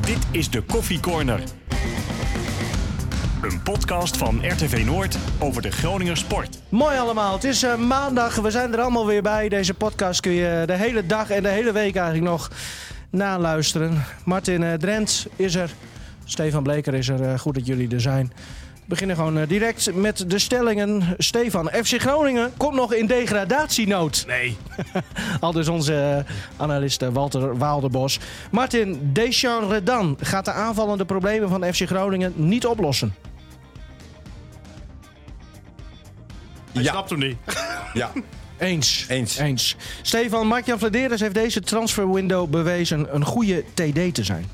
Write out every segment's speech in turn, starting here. Dit is de Koffie Corner. Een podcast van RTV Noord over de Groninger sport. Mooi allemaal. Het is eh, maandag. We zijn er allemaal weer bij. Deze podcast kun je de hele dag en de hele week eigenlijk nog naluisteren. Martin eh, Drent is er. Stefan Bleker is er. Eh, goed dat jullie er zijn. We beginnen gewoon eh, direct met de stellingen. Stefan, FC Groningen komt nog in degradatienood. Nee. Al dus onze eh, analist eh, Walter Waalderbos. Martin Deschamps-Redan gaat de aanvallende problemen van FC Groningen niet oplossen. Hij Ja. snapt hem niet. Ja, Eens. Eens. Eens. Stefan, Mark-Jan Vladeres heeft deze transferwindow bewezen een goede TD te zijn.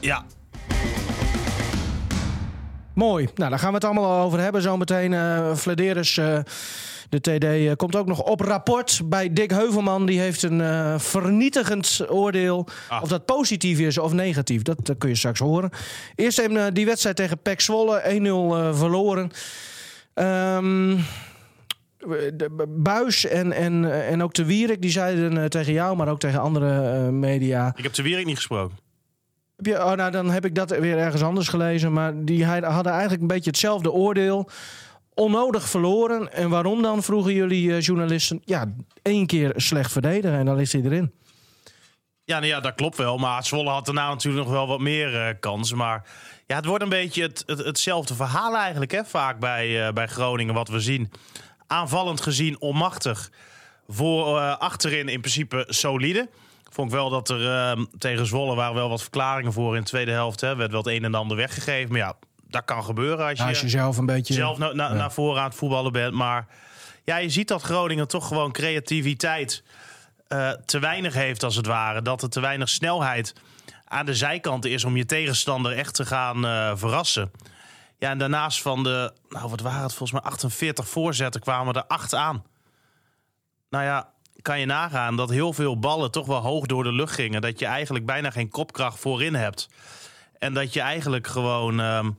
Ja. Mooi. Nou, daar gaan we het allemaal over hebben zometeen. eh Vladeres, eh, de TD, eh, komt ook nog op rapport bij Dick Heuvelman. Die heeft een eh, vernietigend oordeel. Ah. Of dat positief is of negatief, dat eh, kun je straks horen. Eerst even eh, die wedstrijd tegen PEC Zwolle. 1-0 eh, verloren. Ehm, de Buis en, en, eh, en ook de Wierik, die zeiden eh, tegen jou, maar ook tegen andere eh, media... Ik heb te Wierik niet gesproken. Heb je- oh, nou, dan heb ik dat weer ergens anders gelezen. Maar die hij- hadden eigenlijk een beetje hetzelfde oordeel. Onnodig verloren. En waarom dan, vroegen jullie eh, journalisten. Ja, één keer slecht verdedigen en dan ligt hij erin. Ja, nou ja, dat klopt wel. Maar Zwolle had daarna natuurlijk nog wel wat meer eh, kansen. Maar ja, het wordt een beetje het, het- hetzelfde verhaal eigenlijk hè, vaak bij, eh, bij Groningen wat we zien. Aanvallend gezien onmachtig. Voor eh, achterin in principe solide. Vond ik wel dat er ehm, tegen Zwolle waren wel wat verklaringen voor in de tweede helft. Hè. Werd wel het een en ander weggegeven. Maar ja, dat kan gebeuren als je, Nou, Als je zelf een beetje... zelf nou- na, na, naar voren aan het voetballen bent. Maar ja, je ziet dat Groningen toch gewoon creativiteit eh, te weinig heeft, als het ware. Dat er te weinig snelheid aan de zijkant is om je tegenstander echt te gaan eh, verrassen. Ja, en daarnaast van de, nou wat waren het volgens mij, 48 voorzetten kwamen er 8 aan. Nou ja, kan je nagaan dat heel veel ballen toch wel hoog door de lucht gingen. Dat je eigenlijk bijna geen kopkracht voorin hebt. En dat je eigenlijk gewoon ehm,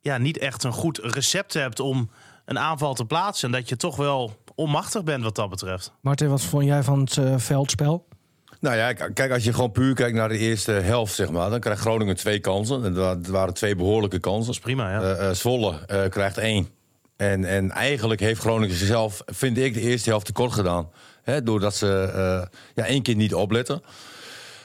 ja, niet echt een goed recept hebt om een aanval te plaatsen. En dat je toch wel onmachtig bent wat dat betreft. Martin, wat vond jij van het eh, veldspel? nou ja, k- kijk, als je gewoon puur kijkt naar de eerste helft, zeg maar, dan krijgt Groningen twee kansen. En dat waren twee behoorlijke kansen. Prima, ja. Eh, eh, Zwolle eh, krijgt één. En, en eigenlijk heeft Groningen zichzelf, vind ik, de eerste helft tekort gedaan. Hè, doordat ze eh, ja, één keer niet opletten.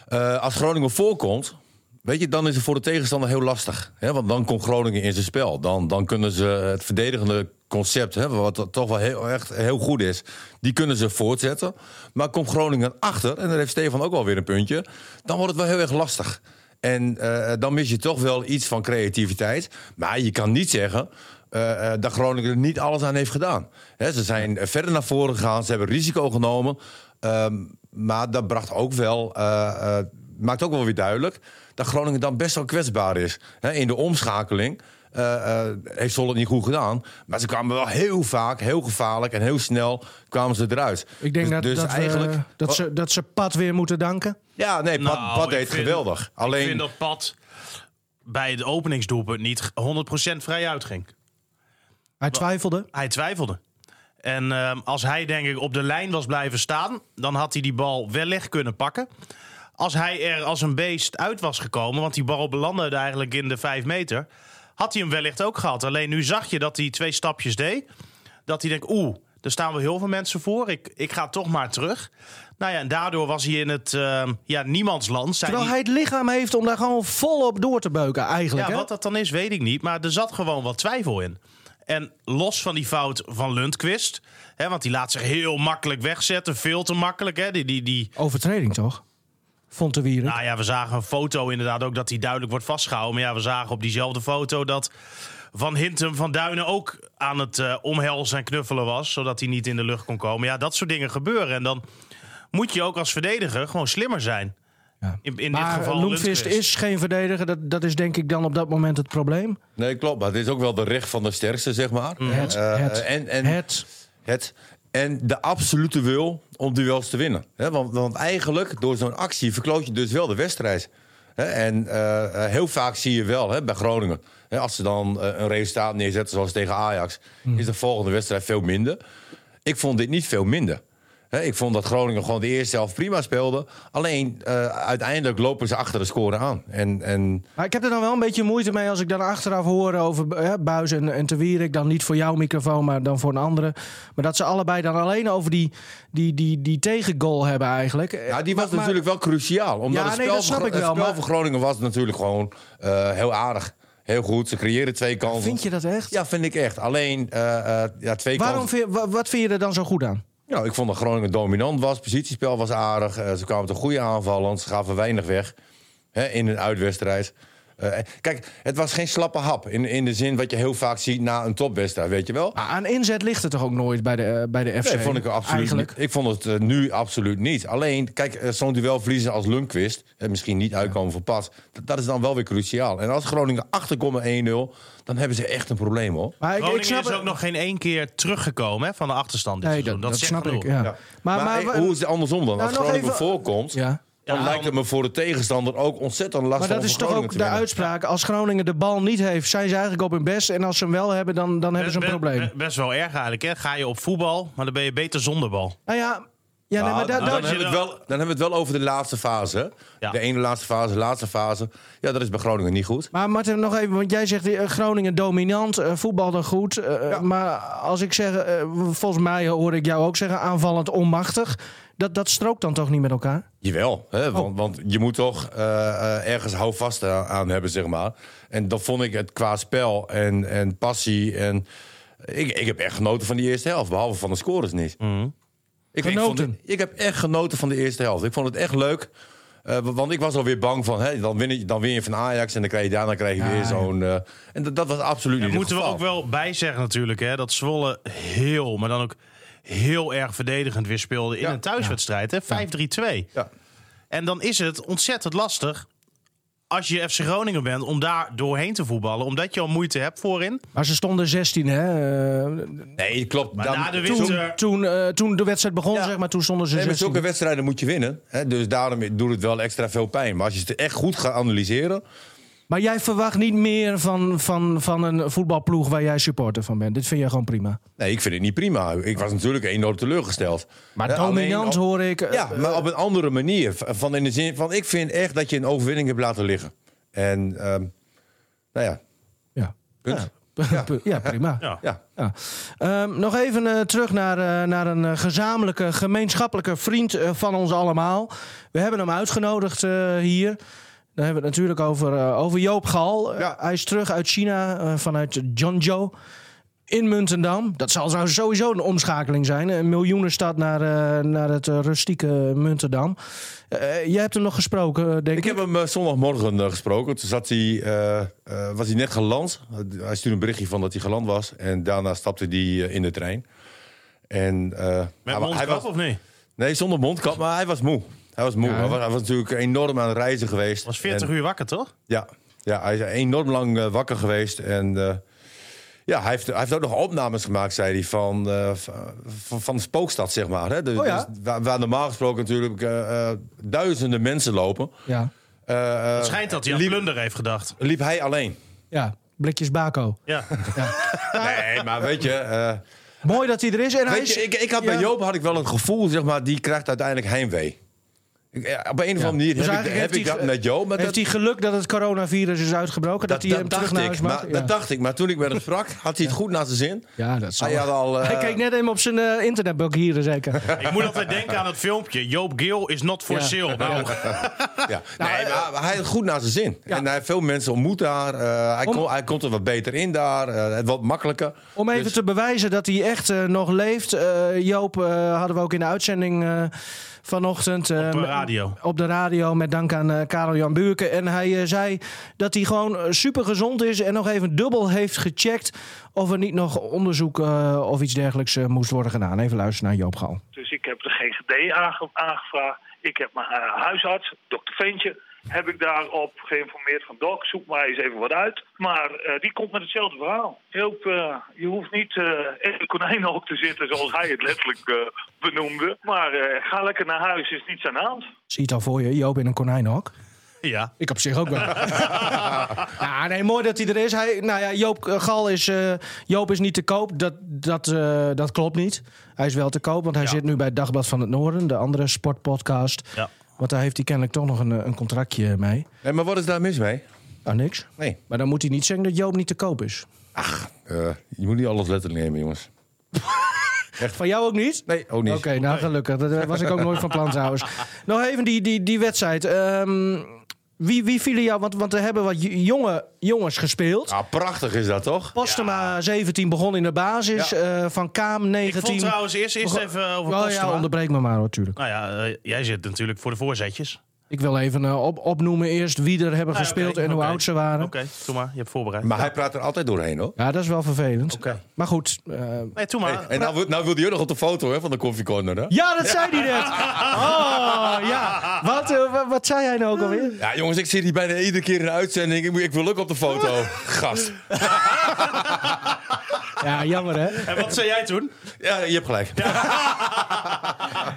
Eh, als Groningen voorkomt, weet je, dan is het voor de tegenstander heel lastig. Hè, want dan komt Groningen in zijn spel. Dan, dan kunnen ze het verdedigende concept, hè, wat toch wel heel, echt heel goed is, die kunnen ze voortzetten. Maar komt Groningen achter, en daar heeft Stefan ook alweer een puntje, dan wordt het wel heel erg lastig. En eh, dan mis je toch wel iets van creativiteit. Maar je kan niet zeggen eh, eh, dat Groningen er niet alles aan heeft gedaan. Hè, ze zijn verder naar voren gegaan, ze hebben risico genomen. Ehm, maar dat bracht ook wel, eh, eh, maakt ook wel weer duidelijk dat Groningen dan best wel kwetsbaar is. Hè, in de omschakeling eh, eh, heeft Zwolle het niet goed gedaan. Maar ze kwamen wel heel vaak, heel gevaarlijk en heel snel kwamen ze eruit. Ik denk Dus- dat, dus dat, we- dat, ze, dat ze Pat weer moeten danken. Ja, nee, Pat, Nou, Pat ik deed het vind- geweldig. Ik Alleen, vind dat Pat bij het openingsdoelpunt niet 100% vrij uitging. Hij twijfelde. Hij twijfelde. En ehm, als hij denk ik op de lijn was blijven staan, dan had hij die bal wellicht kunnen pakken. Als hij er als een beest uit was gekomen, want die bal belandde eigenlijk in de vijf meter, had hij hem wellicht ook gehad. Alleen nu zag je dat hij twee stapjes deed. Dat hij denkt, oeh, daar staan wel heel veel mensen voor. Ik, ik ga toch maar terug. Nou ja, en daardoor was hij in het ehm, ja, niemandsland. Zijn Terwijl die- hij het lichaam heeft om daar gewoon volop door te beuken eigenlijk. ja, hè? wat dat dan is, weet ik niet. Maar er zat gewoon wat twijfel in. En los van die fout van Lundqvist, hè, want die laat zich heel makkelijk wegzetten. Veel te makkelijk. Hè, die, die, die, Overtreding toch? Vond de Wierik. nou ja, we zagen een foto inderdaad ook dat hij duidelijk wordt vastgehouden. Maar ja, we zagen op diezelfde foto dat Van Hintem van Duinen ook aan het eh, omhelzen en knuffelen was. Zodat hij niet in de lucht kon komen. Ja, dat soort dingen gebeuren. En dan moet je ook als verdediger gewoon slimmer zijn. Ja. In, in dit maar geval Loemvist Lundqvist. is geen verdediger. Dat, dat is denk ik dan op dat moment het probleem. nee, klopt. Maar dit is ook wel de recht van de sterkste, zeg maar. Mhm. Het, Eh, het, en, en, het. Het, en de absolute wil om duels te winnen. Hè, want, want eigenlijk, door zo'n actie, verkloot je dus wel de wedstrijd. Hè, en eh, eh, heel vaak zie je wel hè, bij Groningen. Hè, als ze dan eh, een resultaat neerzetten, zoals tegen Ajax, is de volgende wedstrijd veel minder. Ik vond dit niet veel minder. Hè, ik vond dat Groningen gewoon de eerste helft prima speelde. Alleen eh, uiteindelijk lopen ze achter de score aan. En, en Maar ik heb er dan wel een beetje moeite mee als ik dan achteraf hoor over eh, Buis en, en Te Wierik. Dan niet voor jouw microfoon, maar dan voor een andere. Maar dat ze allebei dan alleen over die, die, die, die tegengoal hebben eigenlijk. ja, die Eh, Maar- was maar- natuurlijk wel cruciaal. Omdat Ja, het nee, spel, dat snap voor, ik het wel, spel maar- voor Groningen was natuurlijk gewoon eh, heel aardig. Heel goed, ze creëren twee kansen. Vind je dat echt? Ja, vind ik echt. Alleen eh, eh, ja, twee Waarom kansen. vind, je- wa- wat vind je er dan zo goed aan? Nou, ik vond dat Groningen dominant was. Positiespel was aardig. Eh, ze kwamen tot goede aanvallen. Ze gaven weinig weg hè, in een uitwedstrijd. Eh, kijk, het was geen slappe hap. In, in de zin wat je heel vaak ziet na een topwedstrijd, weet je wel. Maar aan inzet ligt het toch ook nooit bij de, eh, bij de FC? Ah. Nee, vond ik, er absoluut eigenlijk. niet. ik vond het eh, nu absoluut niet. Alleen, kijk, eh, zo'n duel verliezen als Lundqvist... en misschien niet uitkomen voor pas, dat, dat is dan wel weer cruciaal. En als Groningen achterkomt met 1-0, dan hebben ze echt een probleem, hoor. Maar ik, ik Groningen snap is ook nog geen één keer teruggekomen hè, van de achterstand dit Nee, dat, seizoen. dat, zegt snap ik. genoeg. Ja. Ja. Maar, Maar, maar, eh, hoe is het andersom dan? Nou, als nog Groningen even- voorkomt, Ja. dan Ja, lijkt het dan- me voor de tegenstander ook ontzettend lastig Maar dat om is van toch Groningen ook te de winnen. uitspraak. Als Groningen de bal niet heeft, zijn ze eigenlijk op hun best. En als ze hem wel hebben, dan, dan hebben ze een Best- probleem. best- Best wel erg eigenlijk. Hè? Ga je op voetbal, maar dan ben je beter zonder bal. nou ja, ja, nee, Ja, maar da- da- dan, dat je hebben we het wel- wel, dan hebben we het wel over de laatste fase. hè? Ja. De ene laatste fase, laatste fase. Ja, dat is bij Groningen niet goed. Maar Martin, nog even, want jij zegt eh, Groningen dominant, eh, voetbal dan goed. eh, Maar als ik zeg, eh, volgens mij hoor ik jou ook zeggen, aanvallend onmachtig. Dat, dat strookt dan toch niet met elkaar? Jawel, Oh. hè? Want, want je moet toch eh, eh, ergens houvast aan, aan hebben, zeg maar. En dat vond ik het qua spel en, en passie. En, ik, ik heb echt genoten van die eerste helft, behalve van de scores niet. Mhm. Ik, ik, vond het- Genoten? ik heb echt genoten van de eerste helft. Ik vond het echt leuk. eh, wa- want ik was alweer bang van, hè, dan, win je, dan win je van Ajax en dan krijg je daarna krijg je weer zo'n... eh, en dat, dat was absoluut Daar niet het moeten we geval. ook wel bij zeggen natuurlijk. Hè, dat Zwolle heel, maar dan ook heel erg verdedigend weer speelde in Ja. een thuiswedstrijd. hè, 5-3-2. Ja. En dan is het ontzettend lastig als je FC Groningen bent om daar doorheen te voetballen. Omdat je al moeite hebt voorin. Maar ze stonden 16, hè? eh, Nee, klopt. Maar Dan- na de toen- winter... toen, eh, toen de wedstrijd begon, Ja. zeg maar, toen stonden ze Nee, maar 16. zulke wedstrijden moet je winnen. Hè? Dus daarom doet het wel extra veel pijn. Maar als je het echt goed gaat analyseren... Maar jij verwacht niet meer van, van, van een voetbalploeg waar jij supporter van bent. Dit vind je gewoon prima. Nee, ik vind het niet prima. Ik was natuurlijk enorm teleurgesteld. Maar Hè, dominant alleen op- hoor ik. eh, Ja, maar op een andere manier. V- Van in de zin van, ik vind echt dat je een overwinning hebt laten liggen. En, ehm, nou ja, ja. punt. Ja. prima. Ja. Ja. Ja. Ehm, nog even eh, terug naar, eh, naar een eh, gezamenlijke, gemeenschappelijke vriend eh, van ons allemaal. We hebben hem uitgenodigd eh, hier. Dan hebben we het natuurlijk over, eh, over Joop Gal. Eh, Ja. hij is terug uit China, eh, vanuit Zhangzhou in Muntendam. Dat zal zou sowieso een omschakeling zijn. Een miljoenenstad naar, eh, naar het eh, rustieke Muntendam. Eh, jij hebt hem nog gesproken, eh, denk ik. Ik heb hem eh, zondagmorgen eh, gesproken. Toen zat hij, eh, eh, was hij net geland. hij stuurde een berichtje van dat hij geland was. En daarna stapte hij eh, in de trein. En, eh, Met hij wa- hij mondkap was, of niet? Nee, zonder mondkap, maar hij was moe. Hij was moe. Hij, was, hij was natuurlijk enorm aan het reizen geweest. was 40 En- Oh. uur wakker, toch? Ja, ja, hij is enorm lang eh, wakker geweest. En eh, ja, hij heeft, hij heeft ook nog opnames gemaakt, zei hij, van, eh, v- van, van de spookstad, zeg maar. Hè? Dus, Oh ja? dus waar, waar normaal gesproken natuurlijk eh, eh, duizenden mensen lopen. Ja. eh, eh, Het schijnt dat hij aan liep, plunder heeft gedacht. liep hij alleen. ja, blikjes Baco. Ja. Nee, maar weet je... eh, Mooi dat hij er is. En Nou, hij Weet is je, ik, ik had Ja. bij Joop had ik wel een gevoel, zeg maar, die krijgt uiteindelijk heimwee. Ik- eh, op een of andere Dus manier heb, ik, eigenlijk heb ik heeft dat hij- met Joop. Maar Heeft dat, hij geluk dat het coronavirus is uitgebroken? Dat, dat, hij dat hem terug dacht naar ik. huis Maar, maakt? Dat dacht ik. Maar toen ik met hem sprak, had hij het goed naar zijn zin. Ja, dat zal Hij had wel. al... eh, Hij keek net even op zijn eh, internetboek hier zeker. Ik moet altijd denken aan het filmpje. Joop Geel is not for Ja. sale. Nou, Ja. nee, maar Nou, hij had het goed naar zijn zin. Ja. En hij heeft veel mensen ontmoet daar. Eh, hij, Om- kon- hij komt er wat beter in daar. eh, wat makkelijker. Om Dus- even te bewijzen dat hij echt eh, nog leeft. eh, Joop eh, hadden we ook in de uitzending eh, vanochtend. eh, de met- radio. Op de radio met dank aan eh, Karel Jan Buurken. En hij eh, zei dat hij gewoon super gezond is. En nog even dubbel heeft gecheckt of er niet nog onderzoek eh, of iets dergelijks eh, moest worden gedaan. Even luisteren naar Joop Gal. Dus ik heb de GGD aange- aangevraagd. Ik heb mijn eh, huisarts, dokter Veentje, heb ik daarop geïnformeerd van... Dok, zoek maar eens even wat uit. Maar eh, die komt met hetzelfde verhaal. Joop, eh, je hoeft niet eh in de konijnenhok te zitten zoals hij het letterlijk eh, benoemde. Maar eh, ga lekker naar huis, is niets aan de hand. Zie je het al voor je, Joop in een konijnenhok. Ja. Ik op zich ook wel. ja, nee, mooi dat hij er is. Hij, nou ja, Joop eh, Gal is, eh, Joop is niet te koop. Dat, dat, eh, dat klopt niet. Hij is wel te koop, want hij Ja. zit nu bij het Dagblad van het Noorden, de andere sportpodcast. Ja. Want daar heeft hij kennelijk toch nog een, eh, een contractje mee. Nee, maar wat is daar mis mee? Ah, niks. Nee. Maar dan moet hij niet zeggen dat Joop niet te koop is. Eh, je moet niet alles letterlijk nemen, jongens. Van jou ook niet? Nee, ook niet. Oké, nou gelukkig. Dat eh, was ik ook nooit van plan trouwens. Nog even die, die, die wedstrijd. Ehm, wie, wie vielen jou? Want, want er hebben wat j- jonge jongens gespeeld. Ja, Ah, prachtig is dat toch? Postema 17 begon in de basis. eh, van Kaam Ik 19. vond trouwens eerst, eerst even over Oh Postema. ja, onderbreek me maar natuurlijk. Nou ja, eh, jij zit natuurlijk voor de voorzetjes. Ik wil even eh, op, opnoemen eerst wie er hebben Ah, gespeeld oké, en hoe oké. oud ze waren. Oké, doe maar. Je hebt voorbereid. Maar hij praat er altijd doorheen, hoor. Ja, dat is wel vervelend. Oké. Maar goed. eh, Nee, doe Hey, maar. en nou, wil- nou wilde je nog op de foto hè, van de koffiecorner, hè? ja, dat zei hij net. Oh, ja. Wat, eh, wa- wat zei hij nou ook alweer? Ja, jongens, ik zit hier bijna iedere keer in de uitzending. Ik, moet- ik wil ook op de foto. Gast. Ja, jammer hè. En wat zei jij toen? Ja, je hebt gelijk.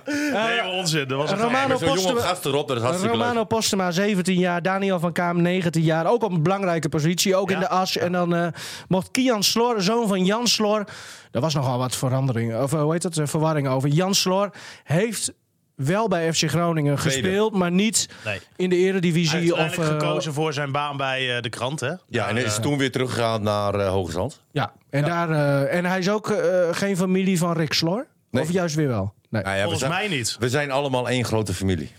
Nee, maar onzin. Dat was een Romano maar zo'n jonge Postema- gast erop, dat is hartstikke Romano leuk. Postema, 17 jaar. Daniel van Kaam, 19 jaar. Ook op een belangrijke positie, ook in de as. En dan eh, mocht Kian Slor, zoon van Jan Slor... Er was nogal wat verandering, of eh, hoe heet dat, eh, verwarring over. Jan Slor heeft wel bij FC Groningen Tweede. gespeeld... maar niet Nee. in de Hij eredivisie. heeft Of, uiteindelijk eh, gekozen voor zijn baan bij eh, de krant, hè? Ja, en hij is toen weer teruggegaan naar eh Hoge Zand. ja. En, Daar, eh, en hij is ook eh, geen familie van Rick Slor? Nee. Of juist weer wel? Nee. Nou ja, we Volgens zijn, mij niet. we zijn allemaal één grote familie.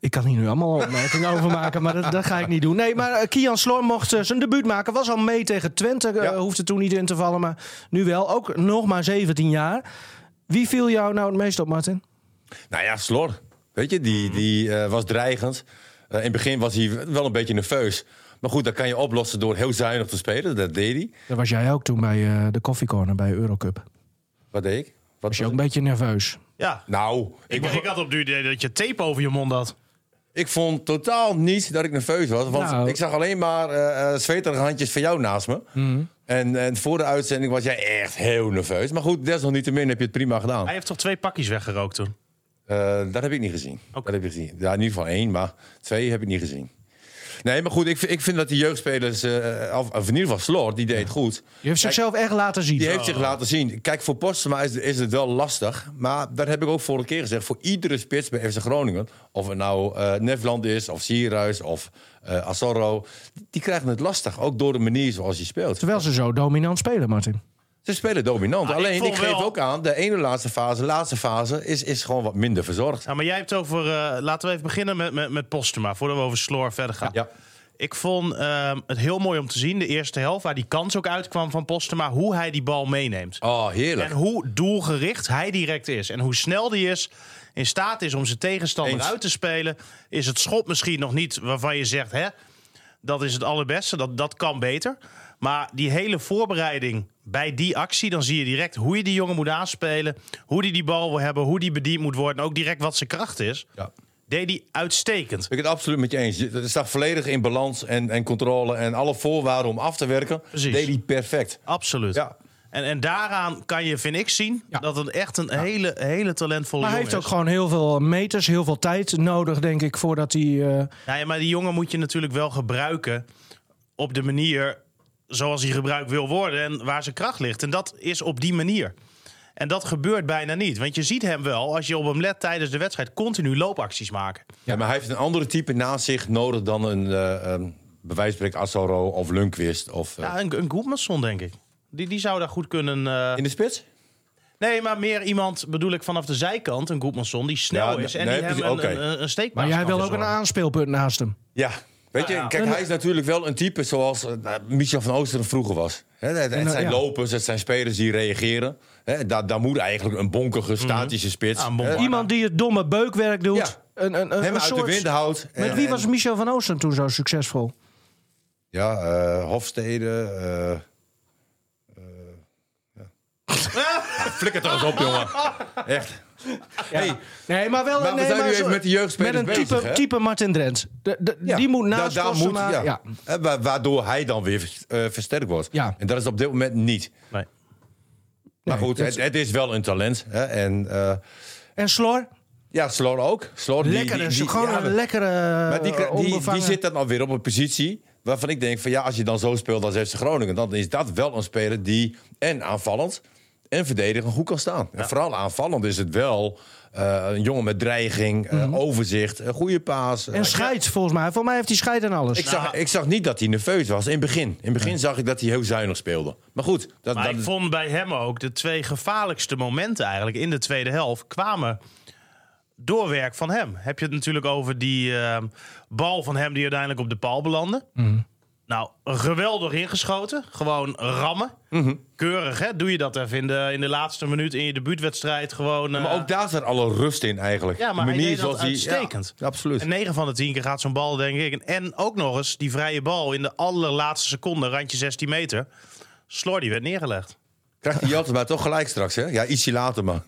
Ik kan hier nu allemaal opmerkingen over maken, maar dat, dat ga ik niet doen. Nee, maar eh, Kian Sloor mocht eh, zijn debuut maken. Was al mee tegen Twente, eh, Ja. hoefde toen niet in te vallen, maar nu wel. Ook nog maar 17 jaar. Wie viel jou nou het meest op, Martin? Nou ja, Slor. Weet je, die, die eh, was dreigend. Eh, in het begin was hij wel een beetje nerveus. Maar goed, dat kan je oplossen door heel zuinig te spelen. Dat deed hij. Dat was jij ook toen bij eh, de koffiecorner bij Eurocup. Wat deed ik? Wat Was je ook een beetje nerveus? Ja. Nou, ik, Ik, ik, ik had op het idee dat je tape over je mond had. vond totaal niet dat ik nerveus was. Want Nou. ik zag alleen maar eh eh, zweterige handjes van jou naast me. En, en voor de uitzending was jij echt heel nerveus. Maar goed, desalniettemin heb je het prima gedaan. Hij heeft toch twee pakjes weggerookt toen? Eh, dat heb ik niet gezien. Oké. Dat heb ik gezien. Ja, in ieder geval één, maar twee heb ik niet gezien. Nee, maar goed, ik, vind- ik vind dat die jeugdspelers, eh, of, of in ieder geval Slor, die deed het goed. Je heeft Kijk, zichzelf echt laten zien. Die heeft zich laten zien. Kijk, voor Postema is, is het wel lastig. Maar dat heb ik ook vorige keer gezegd. Voor iedere spits bij FC Groningen, of het nou eh Nefland is, of Sierhuis, of eh Azorro, die krijgen het lastig. Ook door de manier zoals je speelt. Terwijl ze zo dominant spelen, Martin. Ze spelen dominant. Ah, ik Alleen, ik, vond geef wel- ook aan, de ene laatste fase, laatste fase, is, is gewoon wat minder verzorgd. Nou, maar jij hebt over... eh, laten we even beginnen met, met, met Postuma, voordat we over Sloor verder gaan. Ja. Ik vond ehm, het heel mooi om te zien, de eerste helft, waar die kans ook uitkwam van Postuma, hoe hij die bal meeneemt. Oh, heerlijk. En hoe doelgericht hij direct is. En hoe snel die is, in staat is om zijn tegenstander Eens. uit te spelen. Is het schot misschien nog niet waarvan je zegt, hè, dat is het allerbeste, dat, dat kan beter. Maar die hele voorbereiding bij die actie, dan zie je direct hoe je die jongen moet aanspelen. Hoe die die bal wil hebben, hoe die bediend moet worden. En ook direct wat zijn kracht is. Ja. Deed hij uitstekend. Ik ben het absoluut met je eens. Het staat volledig in balans en, en controle. En alle voorwaarden om af te werken, Precies. deed hij perfect. Absoluut. Ja. En, en daaraan kan je, vind ik, zien Ja. dat het echt een hele, hele talentvolle Maar hij heeft jongen ook is. gewoon heel veel meters, heel veel tijd nodig, denk ik, voordat hij... eh, Nou ja, maar die jongen moet je natuurlijk wel gebruiken op de manier zoals hij gebruikt wil worden en waar zijn kracht ligt. En dat is op die manier. En dat gebeurt bijna niet. Want je ziet hem wel, als je op hem let tijdens de wedstrijd, continu loopacties maken. Ja, maar hij heeft een andere type naast zich nodig dan een eh um, bewijsbrek Assoro of Lundqvist. Of, eh, Ja, een, een Goedmanson, denk ik. Die, die zou daar goed kunnen. eh, in de spits? Nee, maar meer iemand bedoel ik vanaf de zijkant, een Goedmanson, die snel Ja, is en nee, die hem precies, een, oké. een, een, een steekpaas maar jij kan wil ook een verzorgen. aanspeelpunt naast hem. Ja. Weet je, Nou ja. kijk, hij is natuurlijk wel een type zoals eh, nou, Michel van Oosteren vroeger was. Hè, het, het En, eh, zijn ja. lopers, het zijn spelers die reageren. Hè, daar, daar moet eigenlijk een bonkige, statische Mm. spits. Ja, een bonk- hè, Ja. Iemand die het domme beukwerk doet. Ja. Een, een, een, hem een uit de soort- wind houdt. Met En- wie en- was Michel van Oosten toen zo succesvol? Ja, eh, Hofstede. eh, eh, ja. Flikker toch eens op, jongen. Echt. Hey, Nee, maar wel Maar we nee, zijn nu maar even met de jeugdspelers Met een type, bezig, hè? type Martin Drent. De- de- ja, Die moet da- naast daar Postema- moet, ja. Eh, wa- Waardoor hij dan weer vers- eh, versterkt wordt. Ja. En dat is op dit moment niet. Nee. Maar Nee, goed, dat- het, het is wel een talent. Hè? En eh, En Slor? Ja, Sloot ook. Sloot, die- Lekker, die- is die- gewoon ja, een lekkere. Maar die, eh, die, die onbevangen- zit dan alweer op een positie waarvan ik denk van ja, als je dan zo speelt als FC Groningen, dan is dat wel een speler die en aanvallend en verdedigend goed kan staan. En vooral aanvallend is het wel eh, een jongen met dreiging, eh, Mhm. overzicht, een goede paas. Eh, En scheidt volgens mij. Volgens mij heeft hij scheid en alles. ik, Nou. zag, ik zag niet dat hij nerveus was in het begin. In het begin zag ik dat hij heel zuinig speelde. Maar goed, dat, Maar dat, ik vond bij hem ook de twee gevaarlijkste momenten eigenlijk in de tweede helft kwamen door werk van hem. Heb je het natuurlijk over die ehm, bal van hem die uiteindelijk op de paal belandde. Mhm. Nou, geweldig ingeschoten. Gewoon rammen. Mhm. Keurig, hè? Doe je dat even in de, in de laatste minuut in je debuutwedstrijd. Gewoon, maar eh, ook daar zat alle rust in eigenlijk. Ja, maar De hij deed dat hij- uitstekend. ja, absoluut. En 9 van de 10 keer gaat zo'n bal, denk ik. En- En ook nog eens die vrije bal in de allerlaatste seconde, randje 16 meter. Slor die werd neergelegd. Krijgt hij Jaltema toch gelijk straks, hè? Ja, ietsje later maar.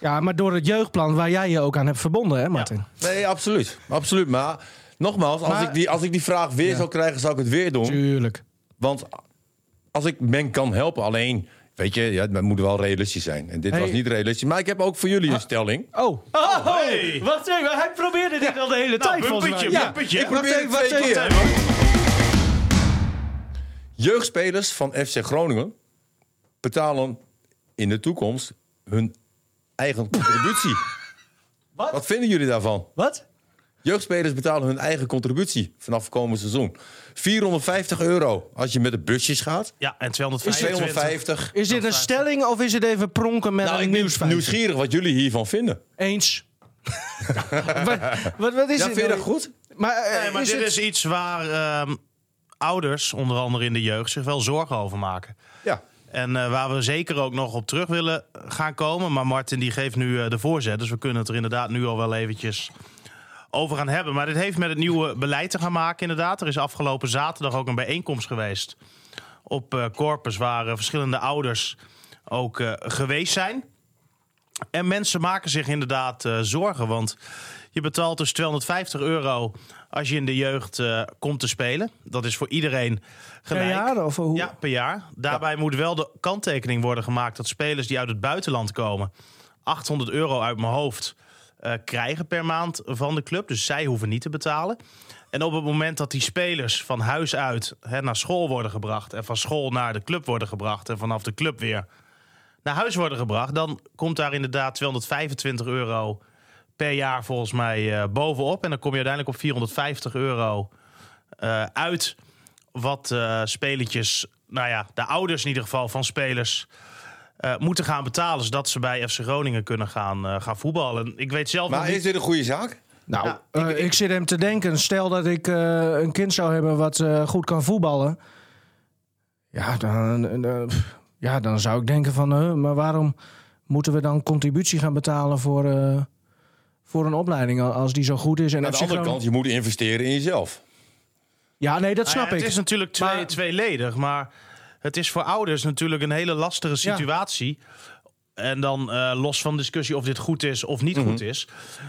Ja, maar door het jeugdplan waar jij je ook aan hebt verbonden, hè, Martin? Nee, absoluut. Absoluut. Maar nogmaals, als, Maar- ik, die, als ik die vraag weer zou krijgen, zou ik het weer doen. Tuurlijk. Want als ik men kan helpen, alleen, weet je, ja, het moet wel realistisch zijn. En dit Hey. was niet realistisch. Maar ik heb ook voor jullie een stelling. Oh. Oh, hey. Wacht even, hij probeerde dit al de hele Nou, tijd. volgens mij. bumpertje, Ja. bumpertje. Ik probeer Wacht het even, twee wacht keer. Jeugdspelers van FC Groningen betalen in de toekomst hun eigen contributie. Wat? Wat vinden jullie daarvan? Wat? Jeugdspelers betalen hun eigen contributie vanaf komend seizoen. 450 euro als je met de busjes gaat. Ja, en 225. 250. Is dit een stelling of is het even pronken met Nou, ik een ben nieuwsfeit? nieuwsgierig wat jullie hiervan vinden. Eens. wat, wat, wat is Ja, dit? vind je dat nou? goed? Maar, eh, Nee, maar is dit het- is iets waar ehm, ouders, onder andere in de jeugd, zich wel zorgen over maken. Ja. En eh, waar we zeker ook nog op terug willen gaan komen. Maar Martin die geeft nu eh, de voorzet. Dus we kunnen het er inderdaad nu al wel eventjes over gaan hebben. Maar dit heeft met het nieuwe beleid te gaan maken inderdaad. Er is afgelopen zaterdag ook een bijeenkomst geweest op eh, Corpus. Waar eh, verschillende ouders ook eh, geweest zijn. En mensen maken zich inderdaad eh, zorgen. Want je betaalt dus 250 euro als je in de jeugd eh, komt te spelen. Dat is voor iedereen per gelijk. jaar of hoe? Ja, per jaar. Daarbij moet wel de kanttekening worden gemaakt dat spelers die uit het buitenland komen 800 euro uit mijn hoofd eh, krijgen per maand van de club. Dus zij hoeven niet te betalen. En op het moment dat die spelers van huis uit hè, naar school worden gebracht en van school naar de club worden gebracht en vanaf de club weer naar huis worden gebracht, dan komt daar inderdaad 225 euro per jaar volgens mij eh, bovenop. En dan kom je uiteindelijk op 450 euro eh, uit wat eh spelertjes, nou ja, de ouders in ieder geval van spelers. eh, moeten gaan betalen zodat ze bij FC Groningen kunnen gaan, eh, gaan voetballen. En Ik weet zelf nog Maar niet- is dit een goede zaak? Nou, eh, ik, zit hem te denken. Stel dat ik eh, een kind zou hebben wat eh, goed kan voetballen. Ja, dan, eh, pff, ja, dan zou ik denken van... eh, maar waarom moeten we dan contributie gaan betalen voor, eh, voor een opleiding... al- als die zo goed is? En Aan de op zich andere gewoon- kant, je moet investeren in jezelf. Ja, nee, dat Nou ja, snap ik. Het is natuurlijk twee, Maar- tweeledig, maar het is voor ouders natuurlijk een hele lastige Ja. situatie. En dan eh, los van discussie of dit goed is of niet Mhm. goed is.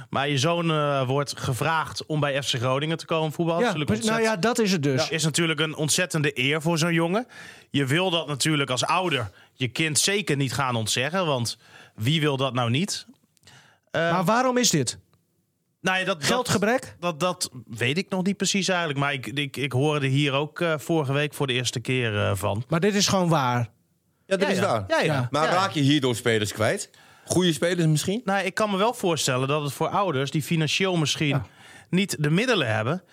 Maar je zoon eh, wordt gevraagd om bij FC Groningen te komen voetballen. ja, Natuurlijk precies. nou ontzettend- ja, dat is het dus. is natuurlijk een ontzettende eer voor zo'n jongen. Je wil dat natuurlijk als ouder je kind zeker niet gaan ontzeggen. Want wie wil dat nou niet? Maar waarom is dit? Nou ja, dat, Geldgebrek? Dat, dat, dat weet ik nog niet precies eigenlijk. Maar ik, ik, ik hoorde hier ook eh, vorige week voor de eerste keer eh, van. Maar dit is gewoon waar. Ja, dat Ja, is ja. waar. Ja, ja. Ja. Maar Ja. raak je hierdoor spelers kwijt? Goede spelers misschien? Nou, ik kan me wel voorstellen dat het voor ouders die financieel misschien niet de middelen hebben,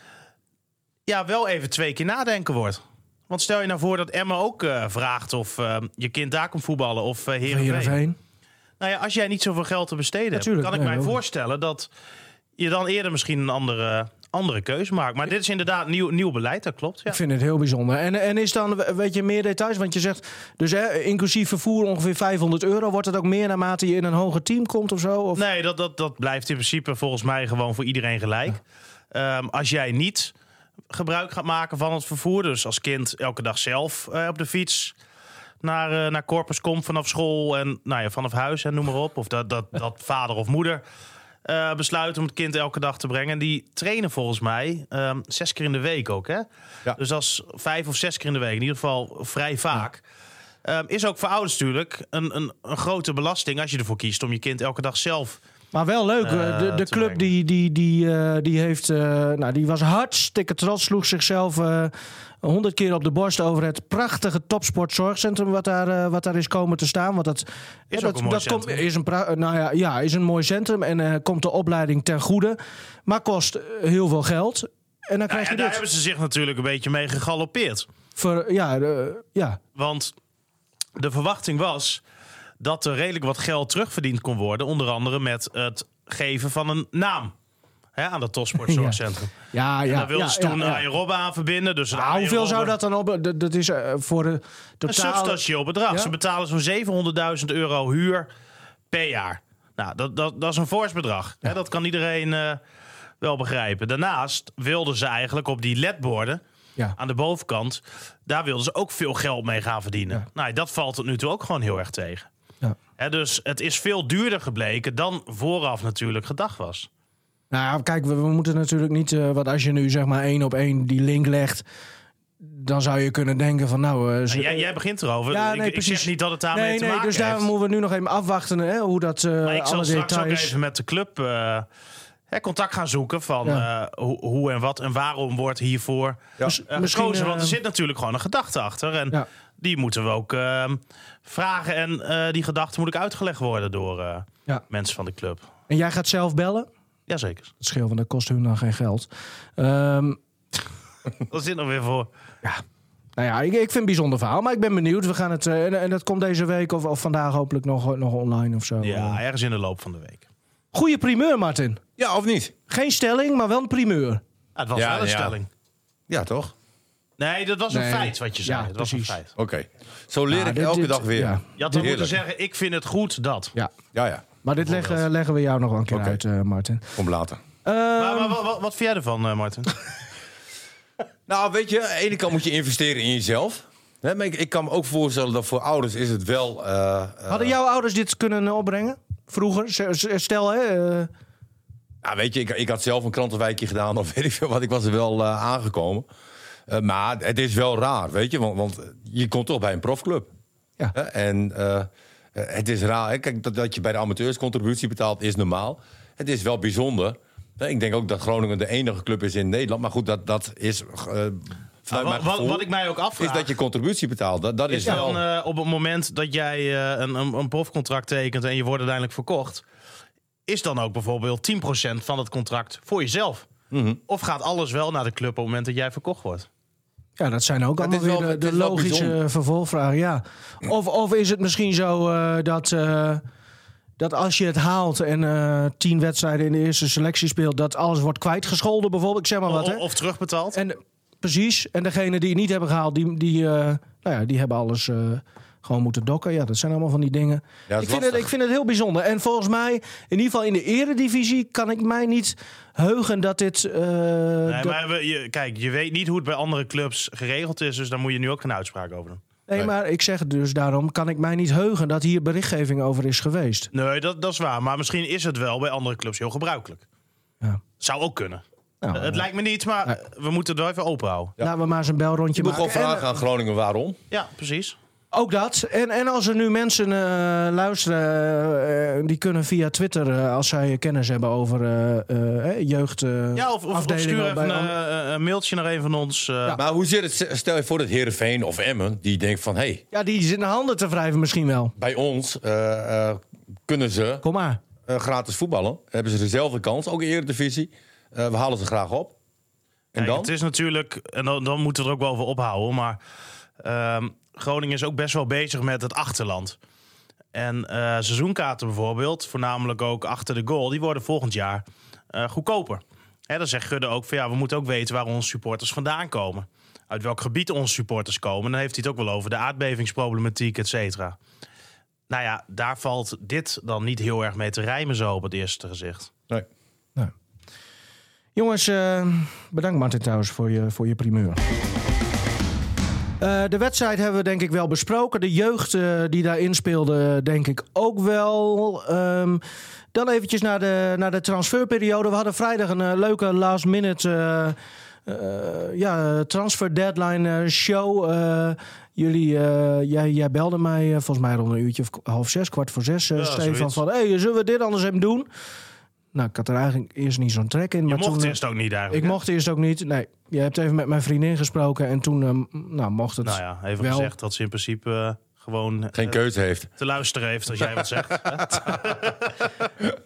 ja, wel even twee keer nadenken wordt. Want stel je nou voor dat Emma ook eh, vraagt of eh, je kind daar komt voetballen of eh Heerenveen. Heerenveen. Nou ja, als jij niet zoveel geld te besteden hebt, Natuurlijk, kan ik nee, mij ook. voorstellen dat je dan eerder misschien een andere, andere keuze maakt. Maar dit is inderdaad nieuw, nieuw beleid, dat klopt. Ja. Ik vind het heel bijzonder. En, en is dan, weet je, meer details? Want je zegt, dus hè, inclusief vervoer ongeveer 500 euro. Wordt het ook meer naarmate je in een hoger team komt of zo? Of? Nee, dat, dat, dat blijft in principe volgens mij gewoon voor iedereen gelijk. Ehm, als jij niet gebruik gaat maken van het vervoer, dus als kind elke dag zelf eh, op de fiets naar, eh, naar Corpus komt vanaf school en nou ja, vanaf huis en noem maar op. Of dat, dat, dat vader of moeder eh, besluit om het kind elke dag te brengen. Die trainen volgens mij ehm, zes keer in de week ook. Hè? Ja. Dus als vijf of zes keer in de week, in ieder geval vrij vaak. Ehm, is ook voor ouders natuurlijk een, een, een grote belasting als je ervoor kiest om je kind elke dag zelf Maar wel leuk. Eh, de de te club brengen. die, die, die, eh, die, heeft, eh, nou, die was hartstikke trots. Sloeg zichzelf eh, honderd keer op de borst over het prachtige topsportzorgcentrum wat daar, eh, wat daar is komen te staan. Want dat ja, ook dat, een mooi dat centrum. komt- is, een pra- nou ja, ja, is een mooi centrum en eh, komt de opleiding ten goede. Maar kost eh, heel veel geld. En dan Nou krijg ja, je daar dit. hebben ze zich natuurlijk een beetje mee gegalopeerd. Voor, ja, eh, ja, Want de verwachting was dat er redelijk wat geld terugverdiend kon worden. Onder andere met het geven van een naam hè, aan dat topsportzorgcentrum. ja, ja. Daar wilden ja, ze ja, toen ja. Arjen Robben aan verbinden. Dus Nou, Arjen hoeveel zou Robben- dat dan op? Dat, dat is eh, voor de Een totale... substantieel bedrag. Ja? Ze betalen zo'n 700.000 euro huur per jaar. Nou, dat, dat, dat is een fors bedrag. Hè, dat kan iedereen eh, wel begrijpen. Daarnaast wilden ze eigenlijk op die ledborden Ja. aan de bovenkant... daar wilden ze ook veel geld mee gaan verdienen. Nou, dat valt tot nu toe ook gewoon heel erg tegen. Ja. Hè, dus het is veel duurder gebleken dan vooraf natuurlijk gedacht was. Nou, ja, kijk, we, we moeten natuurlijk niet. eh wat als je nu zeg maar één op één die link legt. dan zou je kunnen denken van. Nou, eh, ze- Jij, jij begint erover. Ja, ik, nee, ik precies. zeg niet dat het daarmee nee, te nee, maken dus daar heeft. moeten we nu nog even afwachten hè, hoe dat. eh Maar ik zal alle straks details. ook even met de club eh, hè, contact gaan zoeken van Ja. eh, hoe, hoe en wat en waarom wordt hiervoor eh, Miss- misschien, gekozen. Want er eh, zit natuurlijk gewoon een gedachte achter. En Ja. die moeten we ook eh, vragen. En eh, die gedachte moet ook uitgelegd worden door eh, Ja. mensen van de club. En jij gaat zelf bellen? Jazeker. Dat scheelt, want dat kost hun dan geen geld. Ehm, Dat zit nog weer voor. nou ja, ik, ik vind het een bijzonder verhaal, maar ik ben benieuwd. We gaan het, eh, en, en dat komt deze week of, of vandaag hopelijk nog, nog online of zo. Ja, ergens in de loop van de week. Goeie primeur, Martin. Ja, of niet? Geen stelling, maar wel een primeur. Ah, het was Ja, wel een ja. stelling. Ja, toch? Nee, dat was Nee. een feit wat je zei. Ja, dat was een precies. feit. Oké. Zo leer Nou, ik dit- elke dit- dag weer. ja. Ja, Je had dan moeten Heerlijk. zeggen, ik vind het goed dat. Ja, ja. maar dit leggen, leggen we jou nog wel een keer Oké. uit, eh, Martin. Kom later. Maar, Um. maar wat, wat, wat vind jij ervan, eh, Martin? Nou, weet je, aan de ene kant moet je investeren in jezelf. Hè, maar ik, ik kan me ook voorstellen dat voor ouders is het wel... eh, eh, Hadden jouw ouders dit kunnen eh, opbrengen? Vroeger? Z- z- Stel, hè? eh, ja, nou, weet je, ik, ik had zelf een krantenwijkje gedaan of weet ik veel wat. Ik was er wel eh, aangekomen. Eh, maar het is wel raar, weet je. Want, want je komt toch bij een profclub. Ja. Hè, en eh, eh, het is raar. hè. Kijk, dat, dat je bij de amateurs contributie betaalt is normaal. Het is wel bijzonder. Hè, Ik denk ook dat Groningen de enige club is in Nederland. Maar goed, dat, dat is... eh, vanuit wat, mijn wat, gevoel- Ah, wat ik mij ook afvraag... is dat je contributie betaalt. Dat, dat is Is wel. dan eh, op het moment dat jij eh, een, een, een profcontract tekent en je wordt uiteindelijk verkocht, is dan ook bijvoorbeeld 10% van het contract voor jezelf? Mhm. Of gaat alles wel naar de club op het moment dat jij verkocht wordt? ja, dat zijn ook allemaal is wel- weer de, het de is wel logische bijzonder. vervolgvragen. Ja. Of, of is het misschien zo eh, dat, eh, dat als je het haalt en eh, tien wedstrijden in de eerste selectie speelt, dat alles wordt kwijtgescholden bijvoorbeeld? Ik zeg maar wat, O- hè? of, terugbetaald? En, precies. En degene die het niet hebben gehaald, die, die, eh, nou ja, die hebben alles eh, gewoon moeten dokken. Ja, dat zijn allemaal van die dingen. dat is ik, vind het, lastig. ik vind het heel bijzonder. En volgens mij, in ieder geval in de eredivisie, kan ik mij niet heugen dat dit... eh, nee, dat- maar we, je, kijk, je weet niet hoe het bij andere clubs geregeld is, dus daar moet je nu ook geen uitspraak over doen. nee, Nee. maar ik zeg het dus daarom, kan ik mij niet heugen dat hier berichtgeving over is geweest. Nee, dat, dat is waar. Maar misschien is het wel bij andere clubs heel gebruikelijk. Ja. Zou ook kunnen. Nou, Eh, het lijkt me niet, maar eh, we moeten het wel even open houden. Laten we maar eens een belrondje je moet maken. gewoon En- vragen aan Groningen waarom. Ja, precies. Ook dat. En, en als er nu mensen eh, luisteren, eh, eh, die kunnen via Twitter, eh, als zij eh, kennis hebben over eh, eh, eh, jeugd. eh, Ja, of, of, of afdelingen stuur even bij een, andere- eh, een mailtje naar een van ons. eh, Maar hoe zit het? Stel je voor dat Herenveen of Emmen die denkt van hé, hey, Ja, die zitten handen te wrijven misschien wel. bij ons eh, eh, kunnen ze Kom maar. eh, gratis voetballen. Hebben ze dezelfde kans, ook Eredivisie. Eh we halen ze graag op. En Kijk, dan? Het is natuurlijk, en dan, dan moeten we er ook wel voor ophouden, maar ehm, Groningen is ook best wel bezig met het achterland. En eh, seizoenkaarten bijvoorbeeld, voornamelijk ook achter de goal, die worden volgend jaar eh, goedkoper. Hè, dan zegt Gudde ook van ja, we moeten ook weten waar onze supporters vandaan komen. Uit welk gebied onze supporters komen. Dan heeft hij het ook wel over de aardbevingsproblematiek, et cetera. Nou ja, daar valt dit dan niet heel erg mee te rijmen zo op het eerste gezicht. Nee. Jongens, eh, bedankt Martin trouwens voor je, voor je primeur. Eh, de wedstrijd hebben we denk ik wel besproken. De jeugd eh, die daarin speelde, denk ik ook wel. Ehm, dan eventjes naar de, naar de transferperiode. We hadden vrijdag een eh, leuke last-minute eh, ja, transfer deadline eh, show. Eh, jullie, eh, jij, jij belde mij eh, volgens mij rond een uurtje of k- half zes, kwart voor zes. eh Ja, Stefan zoiets. van, hey, zullen we dit anders even doen? Nou, ik had er eigenlijk eerst niet zo'n trek in. Je maar mocht toen, eh, eerst ook niet eigenlijk. ik hè? mocht eerst ook niet. Nee, je hebt even met mijn vriendin gesproken en toen eh, nou, mocht het. Nou ja, even wel. gezegd dat ze in principe eh, gewoon eh, Geen keuze heeft. te luisteren heeft als jij wat zegt.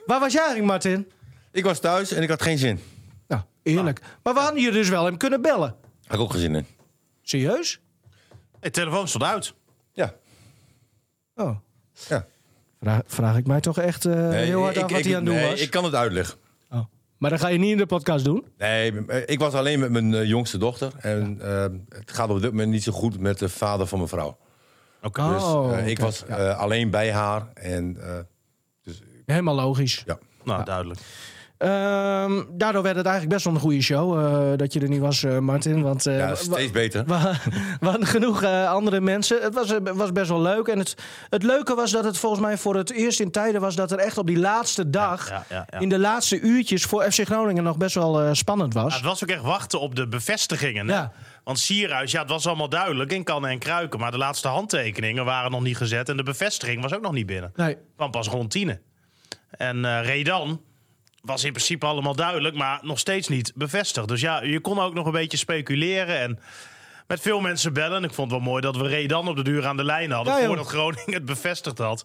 Waar was jij eigenlijk, Martin? Ik was thuis en ik had geen zin. Nou, eerlijk. Maar we hadden je dus wel hem kunnen bellen. Had ik ook geen zin in. Serieus? Het telefoon stond uit. Ja. Oh. Ja. Vraag, vraag ik mij toch echt eh, heel hard ik, af ik- wat hij aan het doen nee, was. ik kan het uitleggen. Oh. Maar dat ga je niet in de podcast doen. Nee, ik was alleen met mijn eh, jongste dochter. En eh, het gaat op dit moment niet zo goed met de vader van mijn vrouw. Oké. Dus eh, Oh, ik oké. was eh, alleen bij haar. En eh, Helemaal logisch. ja. Nou, duidelijk. Ehm, daardoor werd het eigenlijk best wel een goede show eh, dat je er niet was, eh, Martin. Want, eh, ja, wa- steeds beter. wa- waren genoeg eh, andere mensen. Het was, eh, was best wel leuk. En het, het leuke was dat het volgens mij voor het eerst in tijden was dat er echt op die laatste dag, ja, ja, ja. in de laatste uurtjes voor FC Groningen nog best wel eh, spannend Ja, was. het was ook echt wachten op de bevestigingen. hè? Ja. Want Sierhuis, ja, het was allemaal duidelijk in kannen en kruiken. Maar de laatste handtekeningen waren nog niet gezet. En de bevestiging was ook nog niet binnen. Nee, kwam pas rond tienen. En eh, Redan was in principe allemaal duidelijk, maar nog steeds niet bevestigd. Dus ja, je kon ook nog een beetje speculeren en met veel mensen bellen. Ik vond het wel mooi dat we Redan op de duur aan de lijn hadden... Ja, joh. voordat Groningen het bevestigd had.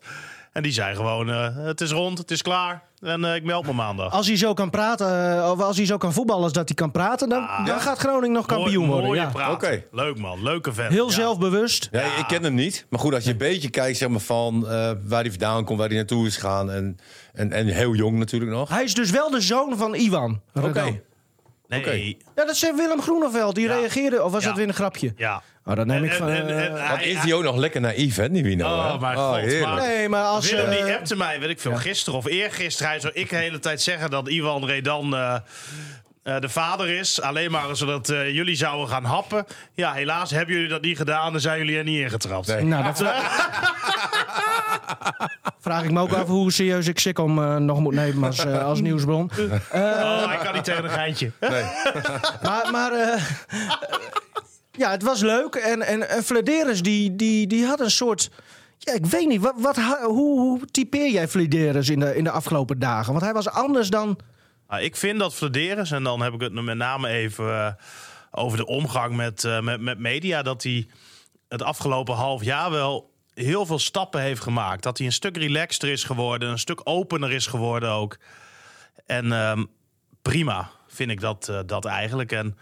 En die zei gewoon, eh, het is rond, het is klaar en eh, ik meld me maandag. Als hij zo kan praten, eh, of als hij zo kan voetballen als dat hij kan praten, dan, Ah. dan gaat Groningen nog kampioen Mooi- worden. mooie Ja. praat. Oké. Leuk man, leuke vent. Heel Ja. zelfbewust. Nee, ik ken hem niet. Maar goed, als je een beetje kijkt zeg maar, van eh, waar hij vandaan komt, waar hij naartoe is gegaan. En, en, en heel jong natuurlijk nog. Hij is dus wel de zoon van Iwan. Oké. Redan. Nee, Oké. Ja, dat zei Willem Groeneveld. Die Ja. reageerde. Of was Ja. dat weer een grapje? ja. Oh, dat neem ik En- van. en- en- eh, en Wat hij- is die ook nog lekker naïef, hè, Nivino? Ah, Oh, hè? mijn god, heerlijk. maar- nee, maar als. Willem die eh, appte mij, weet ik veel, gisteren of eergisteren. Hij zou ik de hele tijd zeggen dat Iwan Redan eh, eh, de vader is. Alleen maar zodat eh, jullie zouden gaan happen. Ja, helaas hebben jullie dat niet gedaan en zijn jullie er niet ingetrapt. Nee. nou, dat vra- vraag ik me ook af hoe serieus ik Sikkom eh, nog moet nemen als, eh, als nieuwsbron. Oh, hij kan niet tegen een geintje. Maar, maar eh, ja, het was leuk. En, en, en Flederis, die, die, die had een soort... Ja, ik weet niet, wat, wat, ha- hoe, hoe typeer jij Flederis in de, in de afgelopen dagen? Want hij was anders dan... Nou, ik vind dat Flederis, en dan heb ik het met name even eh, over de omgang met, eh, met, met media, dat hij het afgelopen half jaar wel heel veel stappen heeft gemaakt. Dat hij een stuk relaxter is geworden, een stuk opener is geworden ook. En ehm, prima vind ik dat, eh, dat eigenlijk. En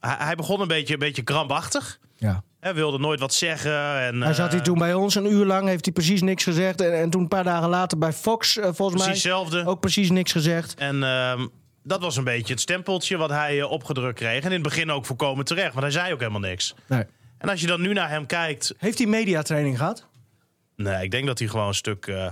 hij, hij begon een beetje, een beetje krampachtig. Ja. Hij wilde nooit wat zeggen. En, Hij zat eh, hier toen bij ons een uur lang, heeft hij precies niks gezegd. En, en toen een paar dagen later bij Fox, eh, volgens Precies mij, hetzelfde. ook precies niks gezegd. En ehm, dat was een beetje het stempeltje wat hij eh, opgedrukt kreeg. En in het begin ook voorkomen terecht, want hij zei ook helemaal niks. Nee. En als je dan nu naar hem kijkt. Heeft hij mediatraining gehad? Nee, ik denk dat hij gewoon een stuk eh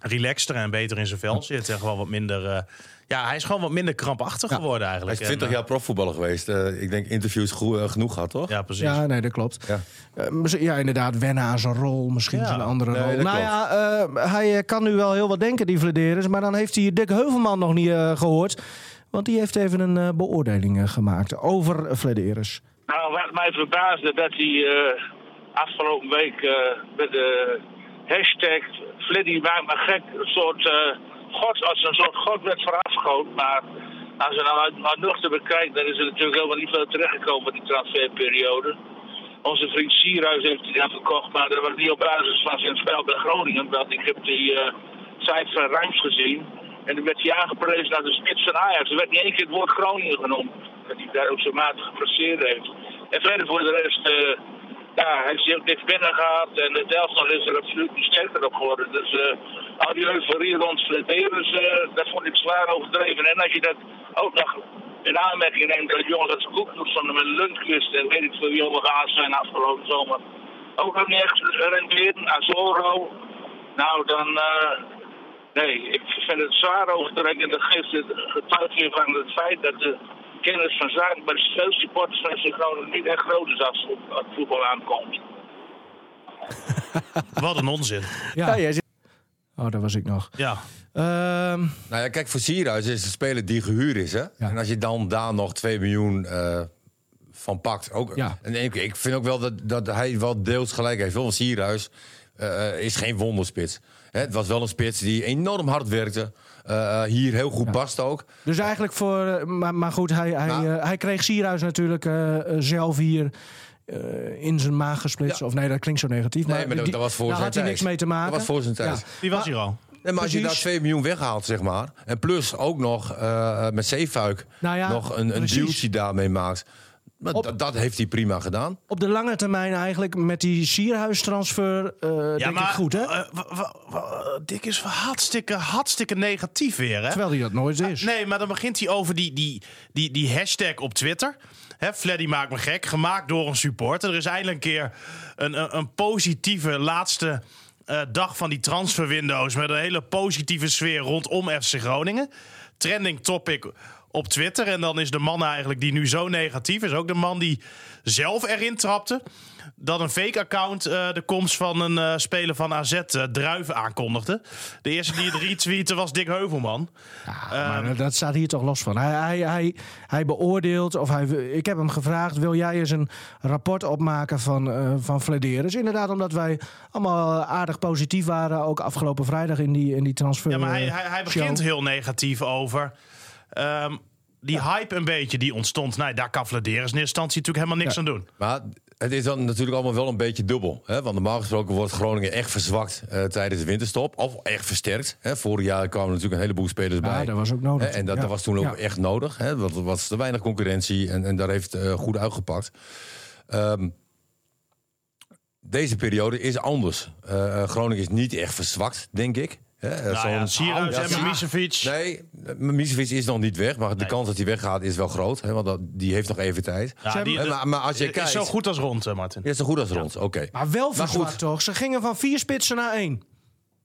relaxter en beter in zijn vel zit. En gewoon wat minder. eh, ja, hij is gewoon wat minder krampachtig geworden Hij eigenlijk. is 20 En, jaar profvoetballer geweest. Eh, ik denk interviews goe- eh, genoeg gehad, toch? eh, Ja, precies. Ja, nee, dat klopt. Ja. Eh, misschien- ja, inderdaad, wennen aan zijn rol, misschien Ja, zijn andere nee, rol. dat Nou klopt. ja, eh, hij eh, kan nu wel heel wat denken, die Vladeris. Maar dan heeft hij Dick Heuvelman nog niet eh, gehoord. Want die heeft even een eh, beoordeling eh, gemaakt over Vladeris. Nou, wat mij verbaasde dat hij eh, afgelopen week eh, met de hashtag Fliddy maakt me gek, een soort eh, god, als een soort god werd voorafgehoond. Maar als je nou uit, uit nuchter bekijkt, dan is er natuurlijk helemaal niet veel terechtgekomen in die transferperiode. Onze vriend Sierhuis heeft hij dan verkocht, maar dat was niet op basis van zijn spel bij Groningen. Want ik heb die eh site van Rijms gezien. En dan werd hij aangeprezen naar de spits van Ajax. Er werd niet één keer het woord Groningen genoemd. Dat hij daar ook zo matig gepresteerd heeft. En verder voor de rest, eh, ja, hij heeft ook niks binnen gehad. En het elftal is er absoluut niet sterker op geworden. Dus eh, al die euforie rond Flederis, eh dat vond ik zwaar overdreven. En als je dat ook nog in aanmerking neemt dat jongens als Koeknoes van de Lundqvist en weet ik veel wie allemaal gehaald zijn afgelopen zomer. Ook nog niet echt renderen, Azoro. Nou, dan... eh, Nee, ik vind het zwaar overdreven. Dat geeft het getuige weer van het feit dat de kennis van zaken bij de veel supporters van FC Groningen niet echt groot is als het op voetbal aankomt. Wat een onzin. Ja. Oh, daar was ik nog. Ja. Ehm, Nou ja, kijk, voor Sierhuis is het een speler die gehuurd is. Hè? En als je dan daar nog 2 miljoen eh, van pakt. Ook, Ja. en ik, ik vind ook wel dat, dat hij wel deels gelijk heeft. Want Sierhuis eh, eh, is geen wonderspits. Hè, het was wel een spits die enorm hard werkte. Eh, eh, hier heel goed past ook. dus eigenlijk voor... eh, Maar, maar goed, hij, hij, Nou. eh, hij kreeg Sierhuis natuurlijk eh, eh, zelf hier eh, in zijn maag gesplitst. Ja. Of nee, dat klinkt zo negatief. Nee, maar dat, die- dat was voor daar zijn had hij tijd. niks mee te maken. Dat was voor zijn tijd. Ja. Die was hier al. Nee, maar als je daar Precies. 2 miljoen weghaalt, zeg maar. En plus ook nog eh, met Zeefuik Nou ja, nog een, een precies. dealtje daarmee maakt. Maar Op- dat- dat heeft hij prima gedaan. Op de lange termijn eigenlijk met die Sierhuis-transfer eh denk ik goed, hè? eh, wa- wa- wa- Dick is hartstikke, hartstikke negatief weer, hè? Terwijl hij dat nooit is. Ah, Nee, maar dan begint hij over die, die, die, die hashtag op Twitter. Hè, Fleddy maakt me gek, gemaakt door een supporter. Er is eindelijk een keer een, een, een positieve laatste eh, dag van die transferwindows... met een hele positieve sfeer rondom FC Groningen. Trending topic op Twitter. En dan is de man eigenlijk die nu zo negatief is... ook de man die zelf erin trapte... dat een fake-account eh, de komst van een eh, speler van AZ, eh, Druiven, aankondigde. De eerste die het retweette was Dick Heuvelman. Ja, Ehm. maar dat staat hier toch los van. Hij, hij, hij, hij beoordeelt, of hij, ik heb hem gevraagd: wil jij eens een rapport opmaken van, eh van Flederis? Inderdaad, omdat wij allemaal aardig positief waren, ook afgelopen vrijdag in die, in die transfer. Ja, maar hij, eh, hij, hij show. begint heel negatief over. ehm, die hype een beetje die ontstond. Nee, daar kan Vladeris in eerste instantie natuurlijk helemaal niks Ja. aan doen. Maar het is dan natuurlijk allemaal wel een beetje dubbel. Hè? Want normaal gesproken wordt Groningen echt verzwakt eh, tijdens de winterstop. Of echt versterkt. Hè? Vorig jaar kwamen natuurlijk een heleboel spelers Ja, bij. dat was ook nodig. Hè, En dat, Ja. dat was toen ook Ja. echt nodig. Hè? Want er was te weinig concurrentie en, en daar heeft eh, goed uitgepakt. Ehm, deze periode is anders. Eh, eh, Groningen is niet echt verzwakt, denk ik. Hè? Eh, Nou zo'n- ja, Sierhuis Ja, en Sierhuis. Mimicevic. Nee, Misevic is nog niet weg. Maar de kans dat hij weggaat is wel groot. Hè? Want dat, die heeft nog even tijd. Ja, die- Eh, maar, maar als je Het kijkt... is zo goed als rond, eh, Martin. Ja, zo goed als rond, oké. Maar wel Maar verzwakt goed. toch? Ze gingen van vier spitsen naar één.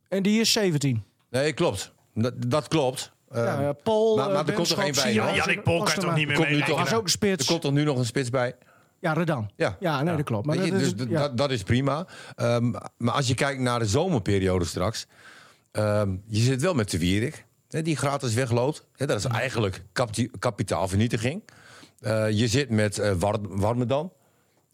En die is 17. Nee, klopt. Dat, dat klopt. Eh, Ja, eh, Paul, maar- maar eh, er komt Benschop, toch één bij, Sierhuis, hè? Jannik Pol kan je toch Postema. niet meer Komt nu mee. toch- was ook een er spits. komt er nu nog een spits bij. Ja, Redan. Ja, Ja. nee, dat klopt. Maar Weet je, dat, dus dat- d- ja. dat, dat is prima. Ehm, maar als je kijkt naar de zomerperiode straks. ehm, je zit wel met de Wierik. Hè, die gratis wegloopt. Hè, dat is Mhm. eigenlijk kapti- kapitaalvernietiging. Eh, je zit met eh War- Warmerdam.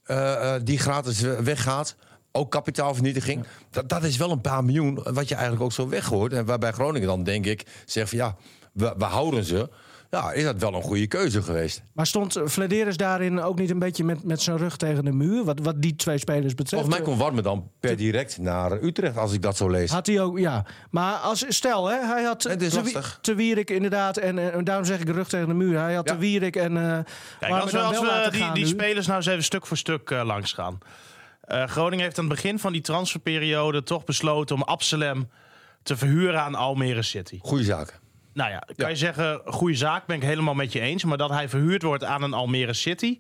eh, eh, die gratis eh, weggaat. Ook kapitaalvernietiging. Dat, dat is wel een paar miljoen eh, wat je eigenlijk ook zo weggooit. En waarbij Groningen dan, denk ik, zegt van ja, we, we houden ze. Ja, is dat wel een goede keuze geweest? Maar stond Flederis daarin ook niet een beetje met, met zijn rug tegen de muur? Wat, wat die twee spelers betreft. Volgens mij komt Warmerdam per direct naar Utrecht als ik dat zo lees. Had hij ook, ja. Maar als, stel, hè, hij had Het is te, lastig. te Wierik inderdaad, en, eh, en daarom zeg ik rug tegen de muur. Hij had Ja. te Wierik en... eh Kijk, waar als we, dan als wel we laten die, gaan die nu. spelers nou eens even stuk voor stuk eh, langs gaan. Eh, Groningen heeft aan het begin van die transferperiode toch besloten om Absalem te verhuren aan Almere City. Goeie zaak. Nou ja, kan Ja. je zeggen, goede zaak, ben ik helemaal met je eens. Maar dat hij verhuurd wordt aan een Almere City...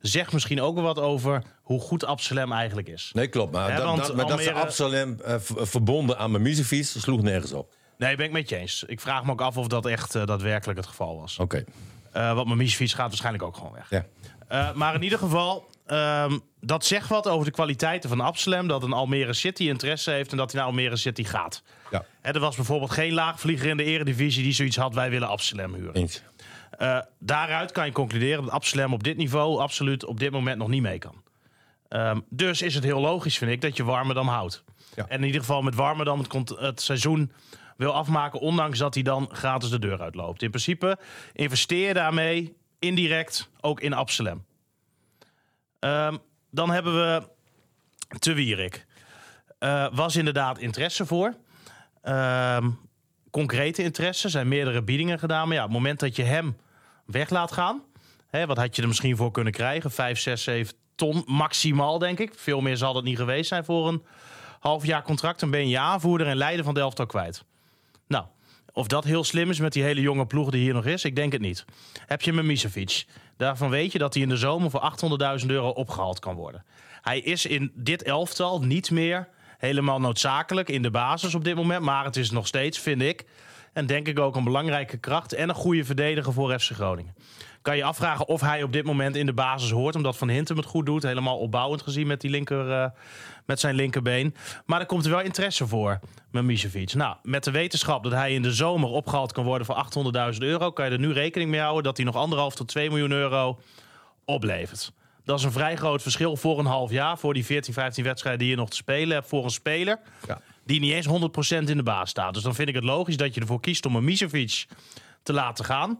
zegt misschien ook wel wat over hoe goed Absalem eigenlijk is. Nee, klopt. Maar, Ja, dat, want dat, maar dat ze Almere- Absalem eh, v- verbonden aan mijn muziekfiets sloeg nergens op. Nee, ben ik met je eens. Ik vraag me ook af of dat echt eh, daadwerkelijk het geval was. Oké. Eh, want mijn fiets gaat waarschijnlijk ook gewoon weg. Ja. Eh, maar in ieder geval, ehm, dat zegt wat over de kwaliteiten van Absalem. Dat een Almere City interesse heeft en dat hij naar Almere City gaat. Ja, Hè, er was bijvoorbeeld geen laagvlieger in de eredivisie die zoiets had... wij willen Absalem huren. eens. Eh, daaruit kan je concluderen dat Absalem op dit niveau absoluut op dit moment nog niet mee kan. Ehm, dus is het heel logisch, vind ik, dat je Warmerdam houdt. Ja. En in ieder geval met Warmerdam het, cont- het seizoen wil afmaken, ondanks dat hij dan gratis de deur uitloopt. In principe investeer je daarmee indirect ook in Absalem. Ehm, dan hebben we Te Wierik. Eh, was inderdaad interesse voor. Ehm, concrete interesse. zijn meerdere biedingen gedaan. Maar ja, op het moment dat je hem weg laat gaan. Hè, wat had je er misschien voor kunnen krijgen? Vijf, zes, zeven ton maximaal, denk ik. Veel meer zal het niet geweest zijn voor een half jaar contract. Dan ben je je aanvoerder en leider van de elftal kwijt. Nou, of dat heel slim is met die hele jonge ploeg die hier nog is, ik denk het niet. Heb je Mimicevic. Daarvan weet je dat hij in de zomer voor 800.000 euro opgehaald kan worden. Hij is in dit elftal niet meer helemaal noodzakelijk in de basis op dit moment. Maar het is nog steeds, vind ik, En denk ik ook een belangrijke kracht en een goede verdediger voor FC Groningen. Kan je afvragen of hij op dit moment in de basis hoort. Omdat Van Hintem het goed doet. Helemaal opbouwend gezien met, die linker, eh, met zijn linkerbeen. Maar er komt er wel interesse voor met Misevic. Nou, met de wetenschap dat hij in de zomer opgehaald kan worden voor 800.000 euro. Kan je er nu rekening mee houden dat hij nog anderhalf tot 2 miljoen euro oplevert. Dat is een vrij groot verschil voor een half jaar. Voor die 14, 15 wedstrijden die je nog te spelen hebt. Voor een speler Ja. die niet eens 100% in de baas staat. Dus dan vind ik het logisch dat je ervoor kiest om een Misevic te laten gaan.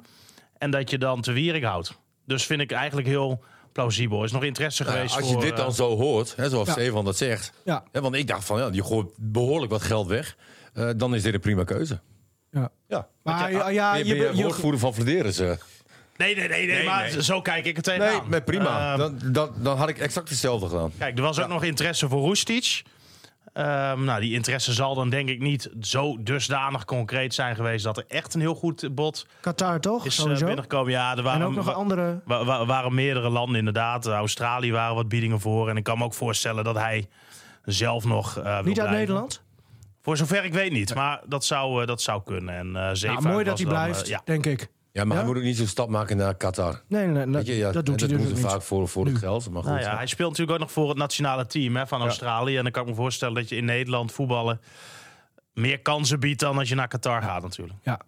En dat je dan te Wierik houdt. Dus vind ik eigenlijk heel plausibel. Is nog interesse Nou ja, geweest als je voor, dit dan eh, zo hoort, hè, zoals Ja. Stefan dat zegt. Ja. Hè, want ik dacht van, ja, je gooit behoorlijk wat geld weg. eh, dan is dit een prima keuze. Ja. Ja. Ah, Maar ja, ja, je, je ben je, be- je- woordvoerder van Vladeren. ze. Nee, nee, nee, nee, Nee, maar nee. zo kijk ik het tegenaan. Nee, maar prima. Ehm, dan, dan, dan had ik exact hetzelfde gedaan. Kijk, er was ook nog interesse voor Roestic. Ehm, nou, die interesse zal dan denk ik niet zo dusdanig concreet zijn geweest... dat er echt een heel goed bod Qatar toch? is eh, Sowieso. binnengekomen. Ja, er waren, en ook nog een wa- andere. wa- wa- waren meerdere landen inderdaad. Australië waren wat biedingen voor. En ik kan me ook voorstellen dat hij zelf nog eh, wil Niet uit blijven. Nederland. Voor zover ik weet niet, maar dat zou, eh, dat zou kunnen. En, eh, Nou, Zeefuik mooi dat was hij dan, eh, blijft, ja. denk ik. Ja, maar Ja? hij moet ook niet zo'n stap maken naar Qatar. Nee, nee, nee, Weet je, ja, dat doet hij doen natuurlijk ze niet. vaak voor, voor het geld. Maar goed. Nou ja, hij speelt natuurlijk ook nog voor het nationale team hè, van Australië. En dan kan ik me voorstellen dat je in Nederland voetballen meer kansen biedt dan als je naar Qatar gaat natuurlijk. Ja.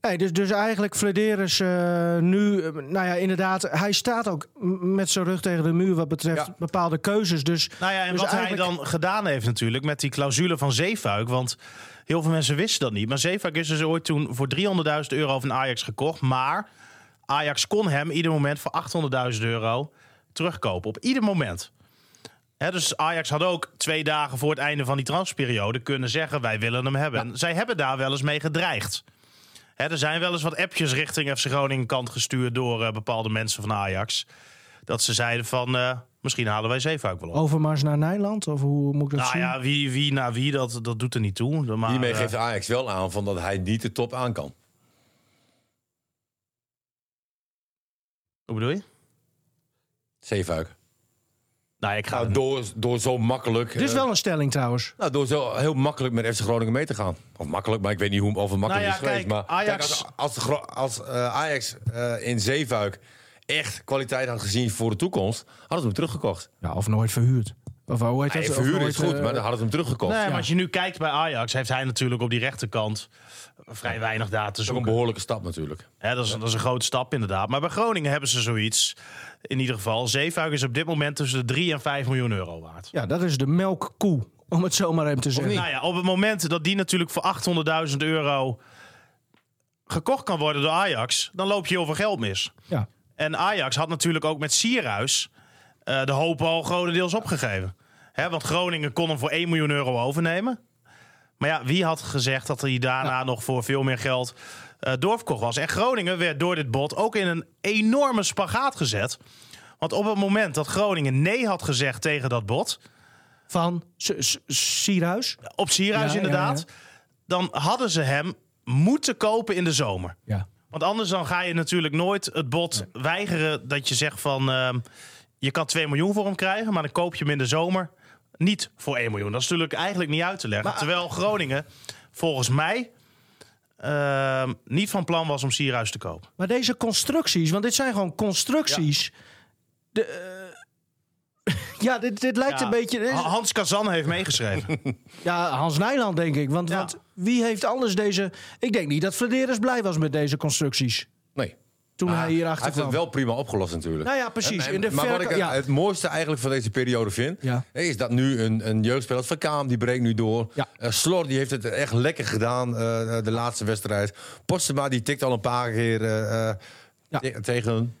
Nee, dus, dus eigenlijk Flederis eh nu, eh, nou ja, inderdaad, hij staat ook m- met zijn rug tegen de muur wat betreft Ja. bepaalde keuzes. Dus, Nou ja, en dus wat eigenlijk- hij dan gedaan heeft natuurlijk met die clausule van Zeefuik. Want heel veel mensen wisten dat niet. Maar Zeefuik is dus ooit toen voor 300.000 euro van Ajax gekocht. Maar Ajax kon hem ieder moment voor 800.000 euro terugkopen. Op ieder moment. Hè, dus Ajax had ook twee dagen voor het einde van die transferperiode kunnen zeggen: wij willen hem hebben. En zij hebben daar wel eens mee gedreigd. Hè, er zijn wel eens wat appjes richting FC Groningen kant gestuurd door eh, bepaalde mensen van Ajax. Dat ze zeiden van eh, misschien halen wij Zeefuik wel op. Overmars naar Nederland, of hoe moet ik dat Nou zien? ja, wie, wie naar wie, dat, dat doet er niet toe. Maar, Hiermee eh, geeft Ajax wel aan van dat hij niet de top aan kan. Hoe bedoel je? Zeefuik. Nou, ik ga Nou, door, door zo makkelijk... Dus Dit is eh, wel een stelling trouwens. Nou, door zo heel makkelijk met FC Groningen mee te gaan. Of makkelijk, maar ik weet niet hoe, of het makkelijk Nou ja, is geweest. kijk, maar Ajax- kijk, als, als, de Gro- als, eh, Ajax eh, in Zeefuik echt kwaliteit had gezien voor de toekomst, hadden ze hem teruggekocht. Ja, of nooit verhuurd. Of oh, hoe heet Hij dat? Of verhuurde nooit, is goed, eh, maar dan hadden ze hem teruggekocht. nee, Dat maar als je nu kijkt bij Ajax, heeft hij natuurlijk op die rechterkant vrij weinig daar te is ook een zoeken. behoorlijke stap natuurlijk. Hè, dat, is, dat is een grote stap inderdaad. Maar bij Groningen hebben ze zoiets. In ieder geval, Zeefuik is op dit moment tussen de 3 en 5 miljoen euro waard. Ja, dat is de melkkoe, om het zo maar even te zeggen. Nou ja, op het moment dat die natuurlijk voor 800.000 euro gekocht kan worden door Ajax, dan loop je heel veel geld mis. Ja. En Ajax had natuurlijk ook met Sierhuis eh, de hoop al grotendeels opgegeven. Hè, want Groningen kon hem voor 1 miljoen euro overnemen. Maar ja, wie had gezegd dat hij daarna nog voor veel meer geld eh, doorverkocht was? En Groningen werd door dit bod ook in een enorme spagaat gezet. Want op het moment dat Groningen nee had gezegd tegen dat bod, Van S- S- Sierhuis. op Sierhuis Ja, inderdaad, dan hadden ze hem moeten kopen in de zomer. Ja. Want anders dan ga je natuurlijk nooit het bod weigeren dat je zegt van... ehm, je kan 2 miljoen voor hem krijgen, maar dan koop je hem in de zomer niet voor 1 miljoen. Dat is natuurlijk eigenlijk niet uit te leggen. Terwijl Groningen volgens mij ehm, niet van plan was om Sierhuis te kopen. Maar deze constructies, want dit zijn gewoon constructies. Ja, ja dit, dit lijkt Ja, Ah, een beetje... Nou, dit is- Ha- Hans Kazan heeft meegeschreven. Ja, Hans Nijland, denk ik. Want, Ja. want wie heeft anders deze... Ik denk niet dat Flederis blij was met deze constructies. Nee. Toen Maar hij Nou, hij hierachter heeft kwam. het wel prima opgelost natuurlijk. Nou ja, precies. En- In de maar wat verko- ik het- ja. het mooiste eigenlijk van deze periode vind... Ja. is dat nu een, een jeugdspeler als Van Kaam, die breekt nu door. Ja. Eh, Slor die heeft het echt lekker gedaan eh, de laatste wedstrijd. Postema die tikt al een paar keer eh, eh, Ja. te- tegen,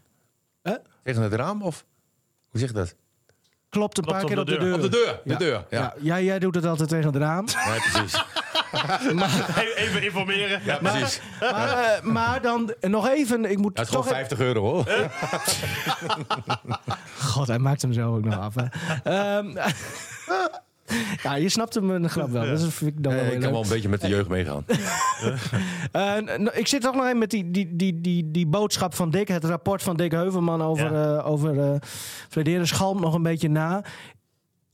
Hè? tegen het raam. Of hoe zeg je dat? Klopt een Klopt paar op keer de op de deur. deur. Op de deur. Ja. De deur. Ja. Ja, jij, jij doet het altijd tegen het raam. Nee, precies. Even informeren. Ja, precies. Maar, eh, maar dan nog even... Ik moet Dat is toch gewoon 50 euro hoor. God, hij maakt hem zo ook nog af. hè. Ehm, ja, je snapt hem een grap wel. Dat is- vind ik dan wel Eh, heel ik kan leuk. wel een beetje met de jeugd meegaan. Eh, nou, ik zit toch nog even met die, die, die, die, die boodschap van Dick, het rapport van Dick Heuvelman over, eh over eh Frederik Schalm nog een beetje na.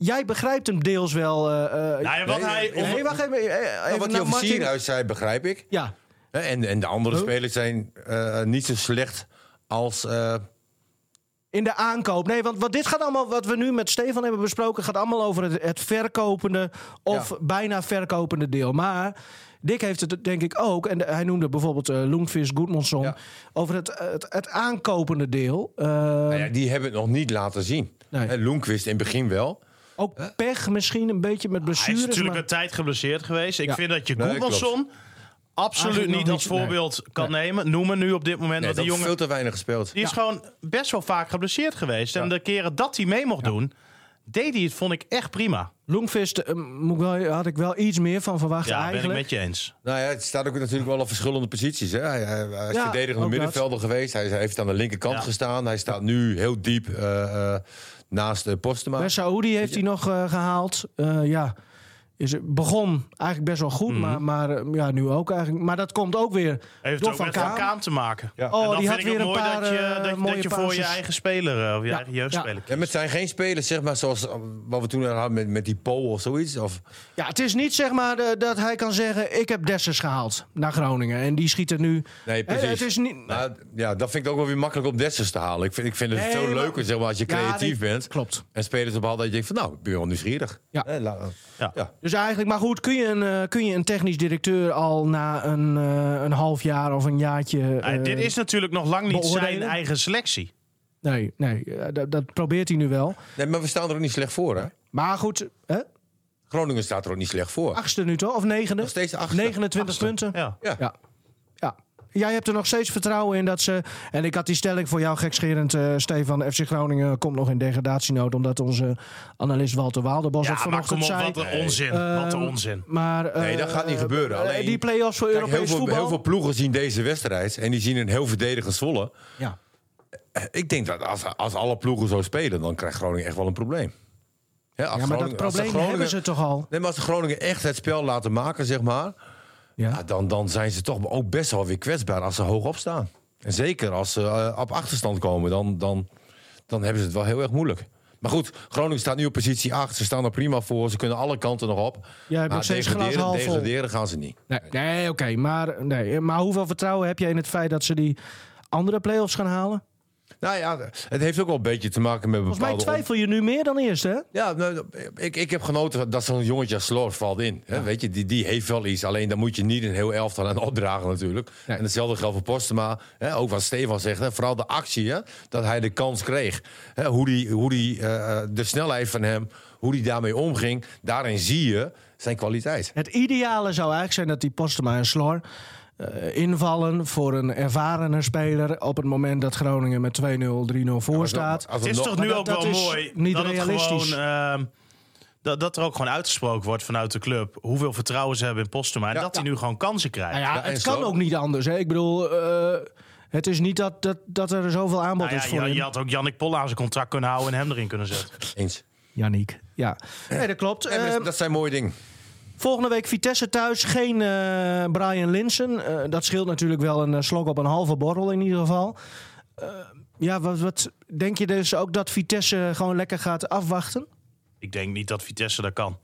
Jij begrijpt hem deels wel. eh, eh, Nou ja, wat hij, nee, wacht even. eh, even Nou, wat naar je over Martin. Sierhuis zei, begrijp ik. Ja. Hè, En, en de andere Huh? spelers zijn eh, niet zo slecht als... eh, In de aankoop. Nee, want wat dit gaat allemaal, wat we nu met Stefan hebben besproken, gaat allemaal over het, het verkopende of Ja. bijna verkopende deel. Maar Dick heeft het denk ik ook, en hij noemde bijvoorbeeld eh Loenvis Goedmanson, Ja. over het, het, het aankopende deel. Eh, nou ja, die hebben het nog niet laten zien. Nee. Hè, Lundqvist in het begin wel. Ook pech misschien een beetje met Ah, Hij is blessures. natuurlijk maar- een tijd geblesseerd geweest. Ik Ja. vind dat je Nee, Goedmanson absoluut Eigenlijk nog niet als niet- nee. voorbeeld kan nemen. Noemen nu op dit moment. Nee, dat want die jongen... jongen veel te weinig gespeeld. die is gewoon best wel vaak geblesseerd geweest. En de keren dat hij mee mocht doen, deed hij het, vond ik echt prima. Longvist eh, moet ik wel, had ik wel iets meer van verwacht Ja, ben ik eigenlijk. met je eens. Nou ja, het staat ook natuurlijk wel op verschillende posities. Hè? Hij, hij, hij is Ja, verdedigende ook dat. middenvelder geweest. Hij, hij heeft aan de linkerkant Ja. gestaan. Hij staat nu heel diep eh, eh, naast de Postema. Bij Saoedi heeft hij nog eh, gehaald. Eh, ja, is, begon eigenlijk best wel goed, Mhm. maar, maar eh, ja, nu ook eigenlijk. Maar dat komt ook weer Heeft door ook Van met Van Kaan. Kaan te maken. Ja. Oh, en dan die had vind ik weer het een mooi paar dat eh, je, dat, je- mooie dat je voor je passes. eigen speler eh, of je Ja. eigen jeugdspeler Ja, maar het zijn geen spelers, zeg maar, zoals eh, wat we toen hadden met, met die Pool of zoiets. Of, Ja, het is niet zeg maar eh, dat hij kan zeggen: ik heb Dessers gehaald naar Groningen en die schiet er nu. nee, Eh, precies. het is niet. Nou, ja, dat vind ik ook wel weer makkelijk om Dessers te halen. Ik vind, ik vind het Nee, veel maar- leuker zeg maar, als je Ja, creatief nee, bent. Klopt. En spelers op dat je denkt van nou, ik ben wel nieuwsgierig. Ja. Eh, la- Ja. ja. Dus eigenlijk, maar goed, kun je een, eh, kun je een technisch directeur al na een, eh, een half jaar of een jaartje. Nou, eh, dit is natuurlijk nog lang niet zijn beoordelen? eigen selectie. Nee, nee eh, dat, dat probeert hij nu wel. Nee, maar we staan er ook niet slecht voor. Hè? Maar goed, hè? Groningen staat er ook niet slecht voor. achtste nu toch? Of negende? Nog steeds achtste. 29 punten. Ja. Ja. Ja. ja. Jij hebt er nog steeds vertrouwen in dat ze. En ik had die stelling voor jou gekscherend, eh, Stefan. FC Groningen komt nog in degradatienood. Omdat onze analist Walter Waalderbos Ja, dat maar kom vanochtend op, zei. wat een onzin. wat een Ehm, onzin. Maar, eh, Nee, dat gaat niet gebeuren. eh, Alleen- die play-offs voor Kijk, Europees heel, veel, voetbal. heel veel ploegen zien deze wedstrijd en die zien een heel verdedigend Zwolle. Ja. Eh, Ik denk dat als, als alle ploegen zo spelen, dan krijgt Groningen echt wel een probleem. Hè, als ja, maar dat Groningen- als de probleem Groningen- hebben ze toch al. Nee, maar als de Groningen echt het spel laten maken, zeg maar, ja, Ja. Nou, dan, dan zijn ze toch ook best wel weer kwetsbaar als ze hoog opstaan. En zeker als ze eh, op achterstand komen, dan, dan, dan hebben ze het wel heel erg moeilijk. Maar goed, Groningen staat nu op positie 8. Ze staan er prima voor. Ze kunnen alle kanten nog op. Jij hebt maar nog steeds degraderen, glas half vol. degraderen gaan ze niet. Nee, nee oké. maar, nee. maar hoeveel vertrouwen heb je in het feit dat ze die andere play-offs gaan halen? Nou ja, het heeft ook wel een beetje te maken met Volgens bepaalde... mij twijfel je nu meer dan eerst, hè? Ja, nou, ik, ik heb genoten dat zo'n jongetje als Sloos valt in. Hè? Weet je, die, die heeft wel iets. Alleen daar moet je niet een heel elftal aan opdragen natuurlijk. Nee. En hetzelfde geldt voor Postema. Hè? Ook wat Stefan zegt. Hè? Vooral de actie, hè? dat hij de kans kreeg. Hè? Hoe die, hoe die, eh, eh, de snelheid van hem, hoe die daarmee omging. Daarin zie je zijn kwaliteit. Het ideale zou eigenlijk zijn dat die Postema en Slor eh, invallen voor een ervaren speler op het moment dat Groningen met 2-0, 3-0 voor staat. Als Het we is nog- toch maar nu dat- ook dat wel is mooi niet dat het gewoon... realistisch. ehm, dat, dat er ook gewoon uitgesproken wordt vanuit de club... hoeveel vertrouwen ze hebben in Postuma... en Ja. dat hij nu gewoon kansen krijgt. Nou Nou ja, Ja, en het kan Slor. ook niet anders. Hè? Ik bedoel, eh, het is niet dat, dat, dat er zoveel aanbod Nou ja, is voor je, hem. je had ook Jannik Polla aan zijn contract kunnen houden... en hem erin kunnen zetten. Eens. Yannick. Ja, nee, dat klopt. Nee, maar Ehm, dat zijn mooie dingen. Volgende week Vitesse thuis. Geen eh, Brian Linsen. Eh, dat scheelt natuurlijk wel een eh, slok op een halve borrel in ieder geval. Eh, ja, wat, wat denk je dus ook dat Vitesse gewoon lekker gaat afwachten? Ik denk niet dat Vitesse dat kan.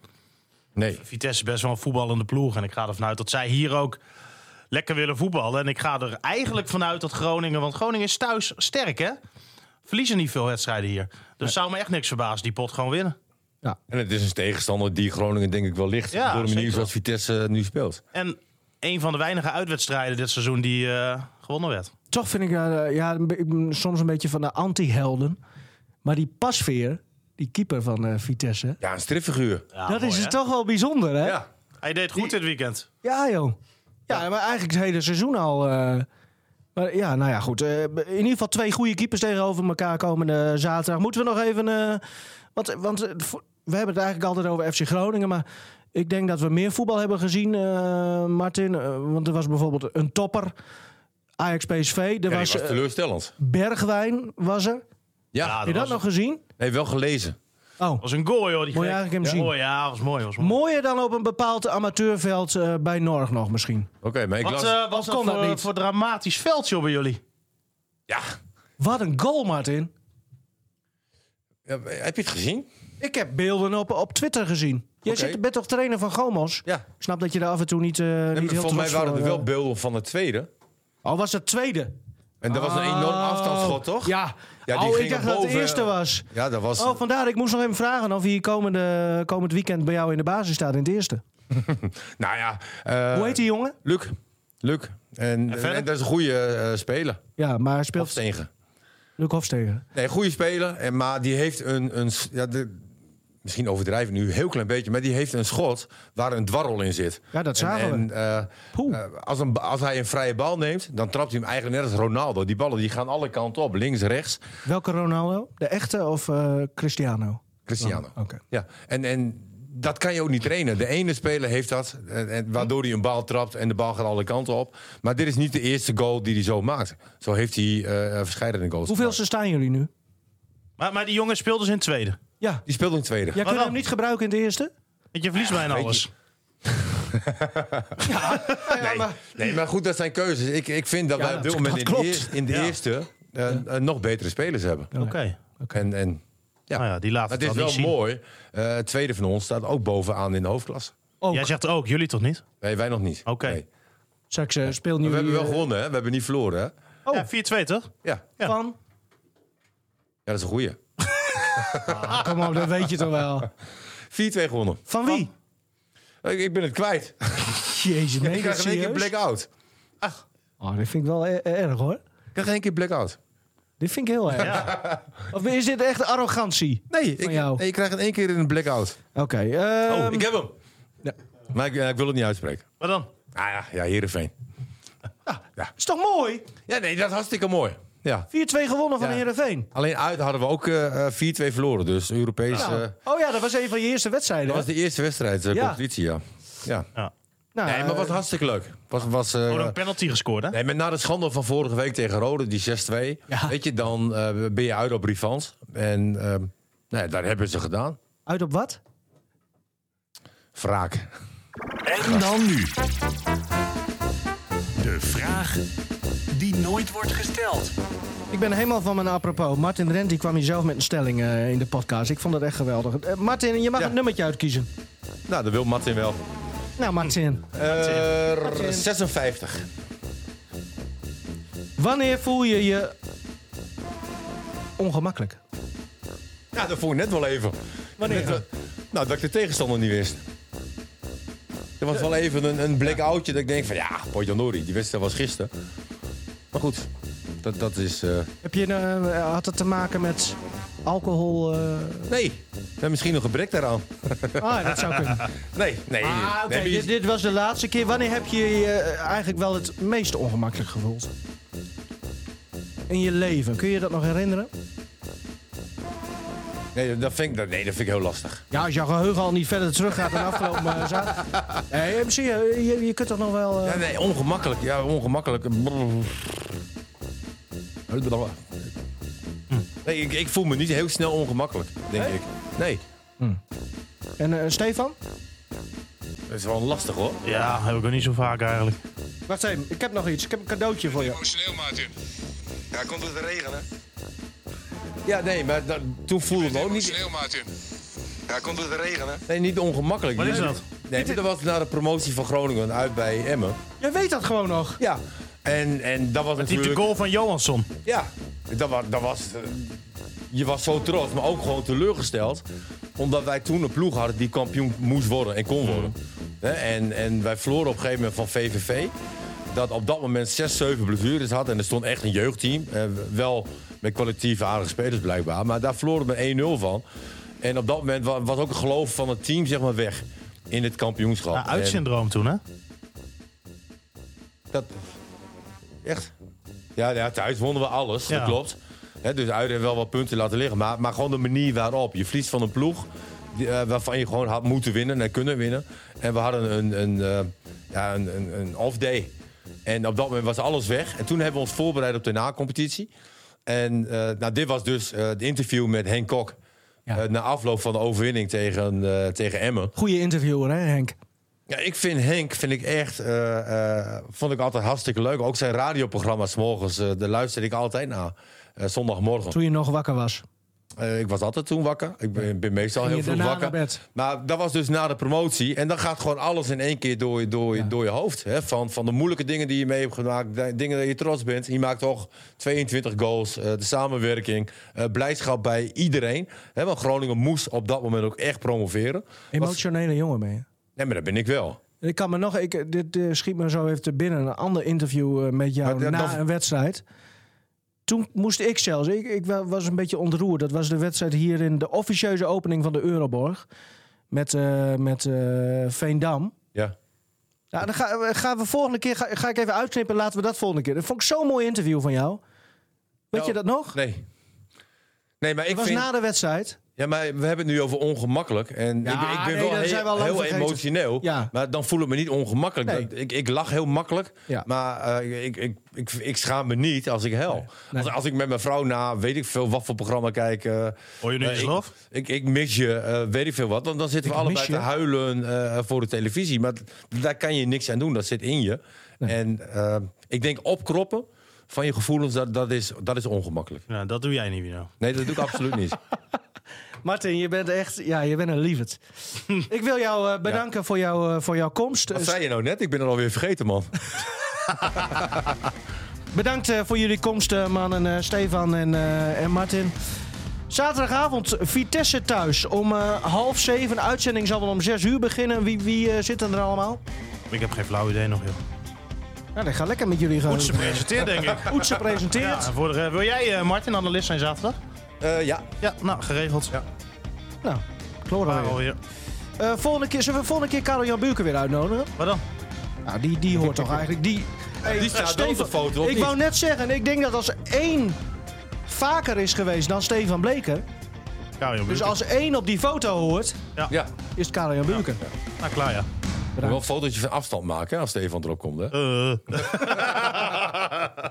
Nee. Vitesse is best wel een voetballende ploeg. En ik ga ervan uit dat zij hier ook lekker willen voetballen. En ik ga er eigenlijk vanuit dat Groningen... Want Groningen is thuis sterk, hè? Verliezen niet veel wedstrijden hier. Dus zou me echt niks verbazen. Die pot gewoon winnen. En het is een tegenstander die Groningen denk ik wel ligt. Ja, door de manier zeker. zoals Vitesse eh, nu speelt. En een van de weinige uitwedstrijden dit seizoen die eh, gewonnen werd. Toch vind ik eh, ja, een be- ik ben soms een beetje van de anti-helden. Maar die pasveer, die keeper van eh, Vitesse. Ja, een stripfiguur. Ja, dat Ah, mooi, is hè? het toch wel bijzonder, hè? Ja. Hij deed goed dit weekend. Ja, joh. Ja, maar eigenlijk het hele seizoen al. eh, maar ja, nou ja, goed. eh, in ieder geval twee goede keepers tegenover elkaar komende zaterdag. Moeten we nog even... eh, want want eh, vo- we hebben het eigenlijk altijd over FC Groningen, maar... Ik denk dat we meer voetbal hebben gezien, eh, Martin. Eh, want er was bijvoorbeeld een topper, Ajax PSV. Er Ja, die was, was eh, teleurstellend. Bergwijn, was er. Ja, Ja, Heb je dat was, nog gezien? nee, wel gelezen. Oh, was een goal, joh. Die Moet je gek. eigenlijk hem ja. zien. Mooi, ja, was mooi. Was mooi. mooier dan op een bepaald amateurveld eh, bij Norg nog misschien. Oké, maar ik Wat las... eh, was dat, kon dat voor, niet? voor dramatisch veldje bij jullie? ja. Wat een goal, Martin. Ja, Heb je het gezien? Ik heb beelden op, op Twitter gezien. Jij Oké. zit, bent toch trainer van Gomos? Ja. Ik snap dat je daar af en toe niet, eh Nee, niet maar heel volgens mij trots waren voor, er wel eh, beelden van de tweede. Oh, was dat tweede? En dat was een enorm Oh. afstandsschot, toch? Ja. Ja, die oh, ik gingen dacht dat het boven- eh, eerste was. Ja, dat was... Oh, vandaar. Ik moest nog even vragen of hij komende, komend weekend bij jou in de basis staat in het eerste. Nou ja... eh, Hoe heet die jongen? Luc. Luc. En, en, verder? dat is een goede eh, speler. Ja, maar hij Of speelt tegen. Luc Hofstegen. Nee, goede speler. En, maar die heeft een... een s- ja, de, misschien overdrijven nu een heel klein beetje. Maar die heeft een schot waar een dwarrel in zit. Ja, dat En- zagen en, we. eh, Poeh. eh, als, een, ba- als hij een vrije bal neemt, dan trapt hij hem eigenlijk net als Ronaldo. Die ballen die gaan alle kanten op. Links, rechts. Welke Ronaldo? De echte of eh, Cristiano? Cristiano. Oh, oké. Ja, en, en dat kan je ook niet trainen. De ene speler heeft dat, en, en waardoor hij een bal trapt en de bal gaat alle kanten op. Maar dit is niet de eerste goal die hij zo maakt. Zo heeft hij eh verschillende goals. Hoeveel gemaakt. staan jullie nu? Maar, maar die jongen speelt dus in het tweede. Ja. Die speelde in het tweede. Jij kunt dan? hem niet gebruiken in de eerste? Want je verliest bijna weet je. alles. nee, nee, maar goed, dat zijn keuzes. Ik, ik vind dat Ja, wij op dit dat- moment dat in de, klopt. eerste, in de Ja. eerste eh, eh, nog betere spelers hebben. Oké. En, en ja, Nou ja, die laten dat het is dan wel niet zien. mooi. Eh, het tweede van ons staat ook bovenaan in de hoofdklasse. Ook. Jij zegt ook, jullie toch niet? Nee, wij nog niet. Oké. Nee. Straks eh, speelt nu... Maar we hebben wel eh, gewonnen, hè? We hebben niet verloren, hè? Oh. Ja, 4-2 toch? Ja, Ja. Van? ja dat is een goeie. 4-2 Ah, kom op, dat weet je toch wel. gewonnen. Van wie? Ik, ik ben het kwijt. Jezus, nee, dat ik krijg in één keer serieus? blackout. Oh, dit vind ik wel e- erg hoor. Ik krijg in één keer blackout. Dit vind ik heel erg. Ja. Of is dit echt arrogantie? Nee, Van ik, jou. nee, ik krijg in één keer een blackout. Oké. ehm, Oh, heb hem. Ja. Maar ik, ja, ik wil het niet uitspreken. Maar dan? Ah ja, ja, Heerenveen. Is toch mooi? 4-2 Ja, nee, dat is hartstikke mooi. Ja. gewonnen van Ja. Heerenveen. Alleen uit hadden we ook eh, eh, 4-2 verloren. Dus Europees... eh, Oh ja, dat was een van je eerste wedstrijden. dat was de eerste wedstrijd, de Ja. competitie, ja. ja. Nou, Nee, maar het was eh, hartstikke leuk. Was, was, eh, Oh, een penalty gescoord hè? Nee, maar na de schande van vorige week tegen Rode, die 6-2, Ja. weet je, dan eh, ben je uit op Rivans. En eh, nou ja, daar hebben ze gedaan. Uit op wat? Wraak. En dan nu. De vraag die nooit wordt gesteld. Ik ben helemaal van mijn apropos. Martin Rent die kwam hier zelf met een stelling eh, in de podcast. Ik vond dat echt geweldig. Eh, Martin, je mag Ja. een nummertje uitkiezen. Nou, dat wil Martin wel. Nou, Martin. Eh, Martin. 56. Wanneer voel je je ongemakkelijk? Ja, dat voel ik net wel even. Net wel- nou, dat ik de tegenstander niet wist. Er was wel even een, een blackoutje dat ik denk van ja, Potjanori, die wedstrijd was gisteren. Maar goed, dat, dat is... eh, Heb je, eh, had het te maken met alcohol? eh? nee, we hebben misschien nog een gebrek daaraan. Ah, dat zou kunnen. Nee, nee. Ah, oké. nee, maar je- dit, dit was de laatste keer. Wanneer heb je je eh, eigenlijk wel het meest ongemakkelijk gevoeld? In je leven. Kun je dat nog herinneren? nee, dat vind ik, dat, nee, dat vind ik heel lastig. Ja, als jouw geheugen al niet verder teruggaat dan afgelopen eh, zaterdag. Nee, eh, zie je, je, je kunt toch nog wel... eh, Ja, nee, ongemakkelijk. Ja, ongemakkelijk. Brrr. Nee, ik, ik voel me niet heel snel ongemakkelijk, denk ik. Nee, En eh, Stefan? dat is wel lastig hoor. Ja, heb ik ook niet zo vaak eigenlijk. Wacht even, ik heb nog iets. Ik heb een cadeautje voor je. Emotioneel, Martin. Ja, komt het de regen, hè? Ja, nee, maar dat, toen voelde het ook niet, Emotioneel, Martin. Ja, komt het de regen, hè? nee, niet ongemakkelijk. Wat is Nee, dat? Nee, maar dat was na de promotie van Groningen uit bij Emmen. Jij weet dat gewoon nog. Ja. En, en dat was Typ de natuurlijk... goal van Johansson. Ja, dat was... Dat was eh, je was zo trots, maar ook gewoon teleurgesteld. Omdat wij toen een ploeg hadden die kampioen moest worden en kon worden. Hè, En, en wij verloren op een gegeven moment van VVV. Dat op dat moment 6, 7 blessures had. En er stond echt een jeugdteam. Eh, wel met collectief aardige spelers blijkbaar. Maar daar verloren we 1-0 van. En op dat moment wa- was ook het geloof van het team zeg maar weg. In het kampioenschap. Nou, En- uitsyndroom toen hè? dat, echt? Ja, ja, thuis wonnen we alles, Ja. dat klopt. Hè, dus uit en wel wat punten laten liggen. Maar, maar gewoon de manier waarop. Je verliest van een ploeg die, eh, waarvan je gewoon had moeten winnen en kunnen winnen. En we hadden een, een, eh, ja, een, een, een off day. En op dat moment was alles weg. En toen hebben we ons voorbereid op de na-competitie. En eh, nou, dit was dus eh, het interview met Henk Kok. Ja. eh, na afloop van de overwinning tegen, eh, tegen Emmen. Goeie interviewer, hè Henk? Ja, ik vind Henk, vind ik echt, eh, eh, vond ik altijd hartstikke leuk. Ook zijn radioprogramma's morgens, eh daar luister ik altijd naar. Eh, zondagmorgen. Toen je nog wakker was. Eh, ik was altijd toen wakker. Ik ben, ben meestal Ging heel je vroeg daarna wakker. naar bed? Maar dat was dus na de promotie. En dan gaat gewoon alles in één keer door, je- door, je- door je hoofd. Hè? Van, van de moeilijke dingen die je mee hebt gemaakt. de- Dingen dat je trots bent. Je maakt toch 22 goals. eh, de samenwerking. eh, blijdschap bij iedereen. Hè? Want Groningen moest op dat moment ook echt promoveren. Was- Emotionele jongen ben je. Nee, maar dat ben ik wel. En Ik kan me nog, ik, dit eh, schiet me zo even te binnen, een ander interview eh, met jou Maar dat- na dat- een wedstrijd. Toen moest ik zelfs, ik, ik wa- was een beetje ontroerd. Dat was de wedstrijd hier in de officieuze opening van de Euroborg. Met, eh, met eh, Veendam. Ja. Ja, dan ga- eh, gaan we volgende keer, ga, ga ik even uitknippen, laten we dat volgende keer. Dat vond ik zo'n mooi interview van jou. Weet Nou, je dat nog? Nee. Nee, maar ik Het was vind... na de wedstrijd. Ja, maar we hebben het nu over ongemakkelijk. En Ja, ik, ben- ik ben nee, wel dat heel, zijn we al lang heel vergeten. emotioneel. Ja. Maar dan voel ik me niet ongemakkelijk. Nee. Dat- Ik, ik lach heel makkelijk. Ja. Maar eh, ik, ik, ik, ik schaam me niet als ik hel. Nee. Als, als ik met mijn vrouw na, weet ik veel, wat voor programma kijk. eh, Hoor je nu eh, iets, ik- Rolf? Ik, ik mis je, eh, weet ik veel wat. Want dan zitten we Ik mis allebei te je. huilen eh, voor de televisie. Maar d- daar kan je niks aan doen. Dat zit in je. En eh, ik denk opkroppen van je gevoelens, dat, dat, is, dat is ongemakkelijk. Nou, dat doe jij niet, Wino. Nee, dat doe ik absoluut niet. Martin, je bent echt, ja, je bent een lieverd. ik wil jou eh, bedanken voor, jou, eh, voor jouw komst. Wat zei je nou net? Ik ben er alweer vergeten, man. Bedankt eh, voor jullie komst, eh, mannen eh, Stefan en, eh, en Martin. Zaterdagavond Vitesse thuis om eh, half zeven. Uitzending zal wel om zes uur beginnen. Wie, wie eh, zitten er allemaal? Ik heb geen flauw idee nog, joh. Nou, dat gaat lekker met jullie gaan. Goed, ze presenteert, denk ik. Oetse Ja, presenteert. en voor de, wil jij, eh, Martin, analist zijn zaterdag? Eh, ja. Ja, nou, geregeld. Ja, Nou, Clara weer. alweer. Eh, volgende keer zullen we volgende keer Karel Jan Buurken weer uitnodigen. Wat dan? Nou, die, die hoort toch eigenlijk. Die, Hey, Die staat wel op de foto, of Ik niet? wou net zeggen, ik denk dat als één vaker is geweest dan Stefan Bleker. Karel Dus Jan Buurken. als één op die foto hoort, Ja. is het Karel Jan Buurken. Nou, klaar, ja. Eh. Wel een fotootje van afstand maken hè, als Stefan erop komt. Hè? Eh.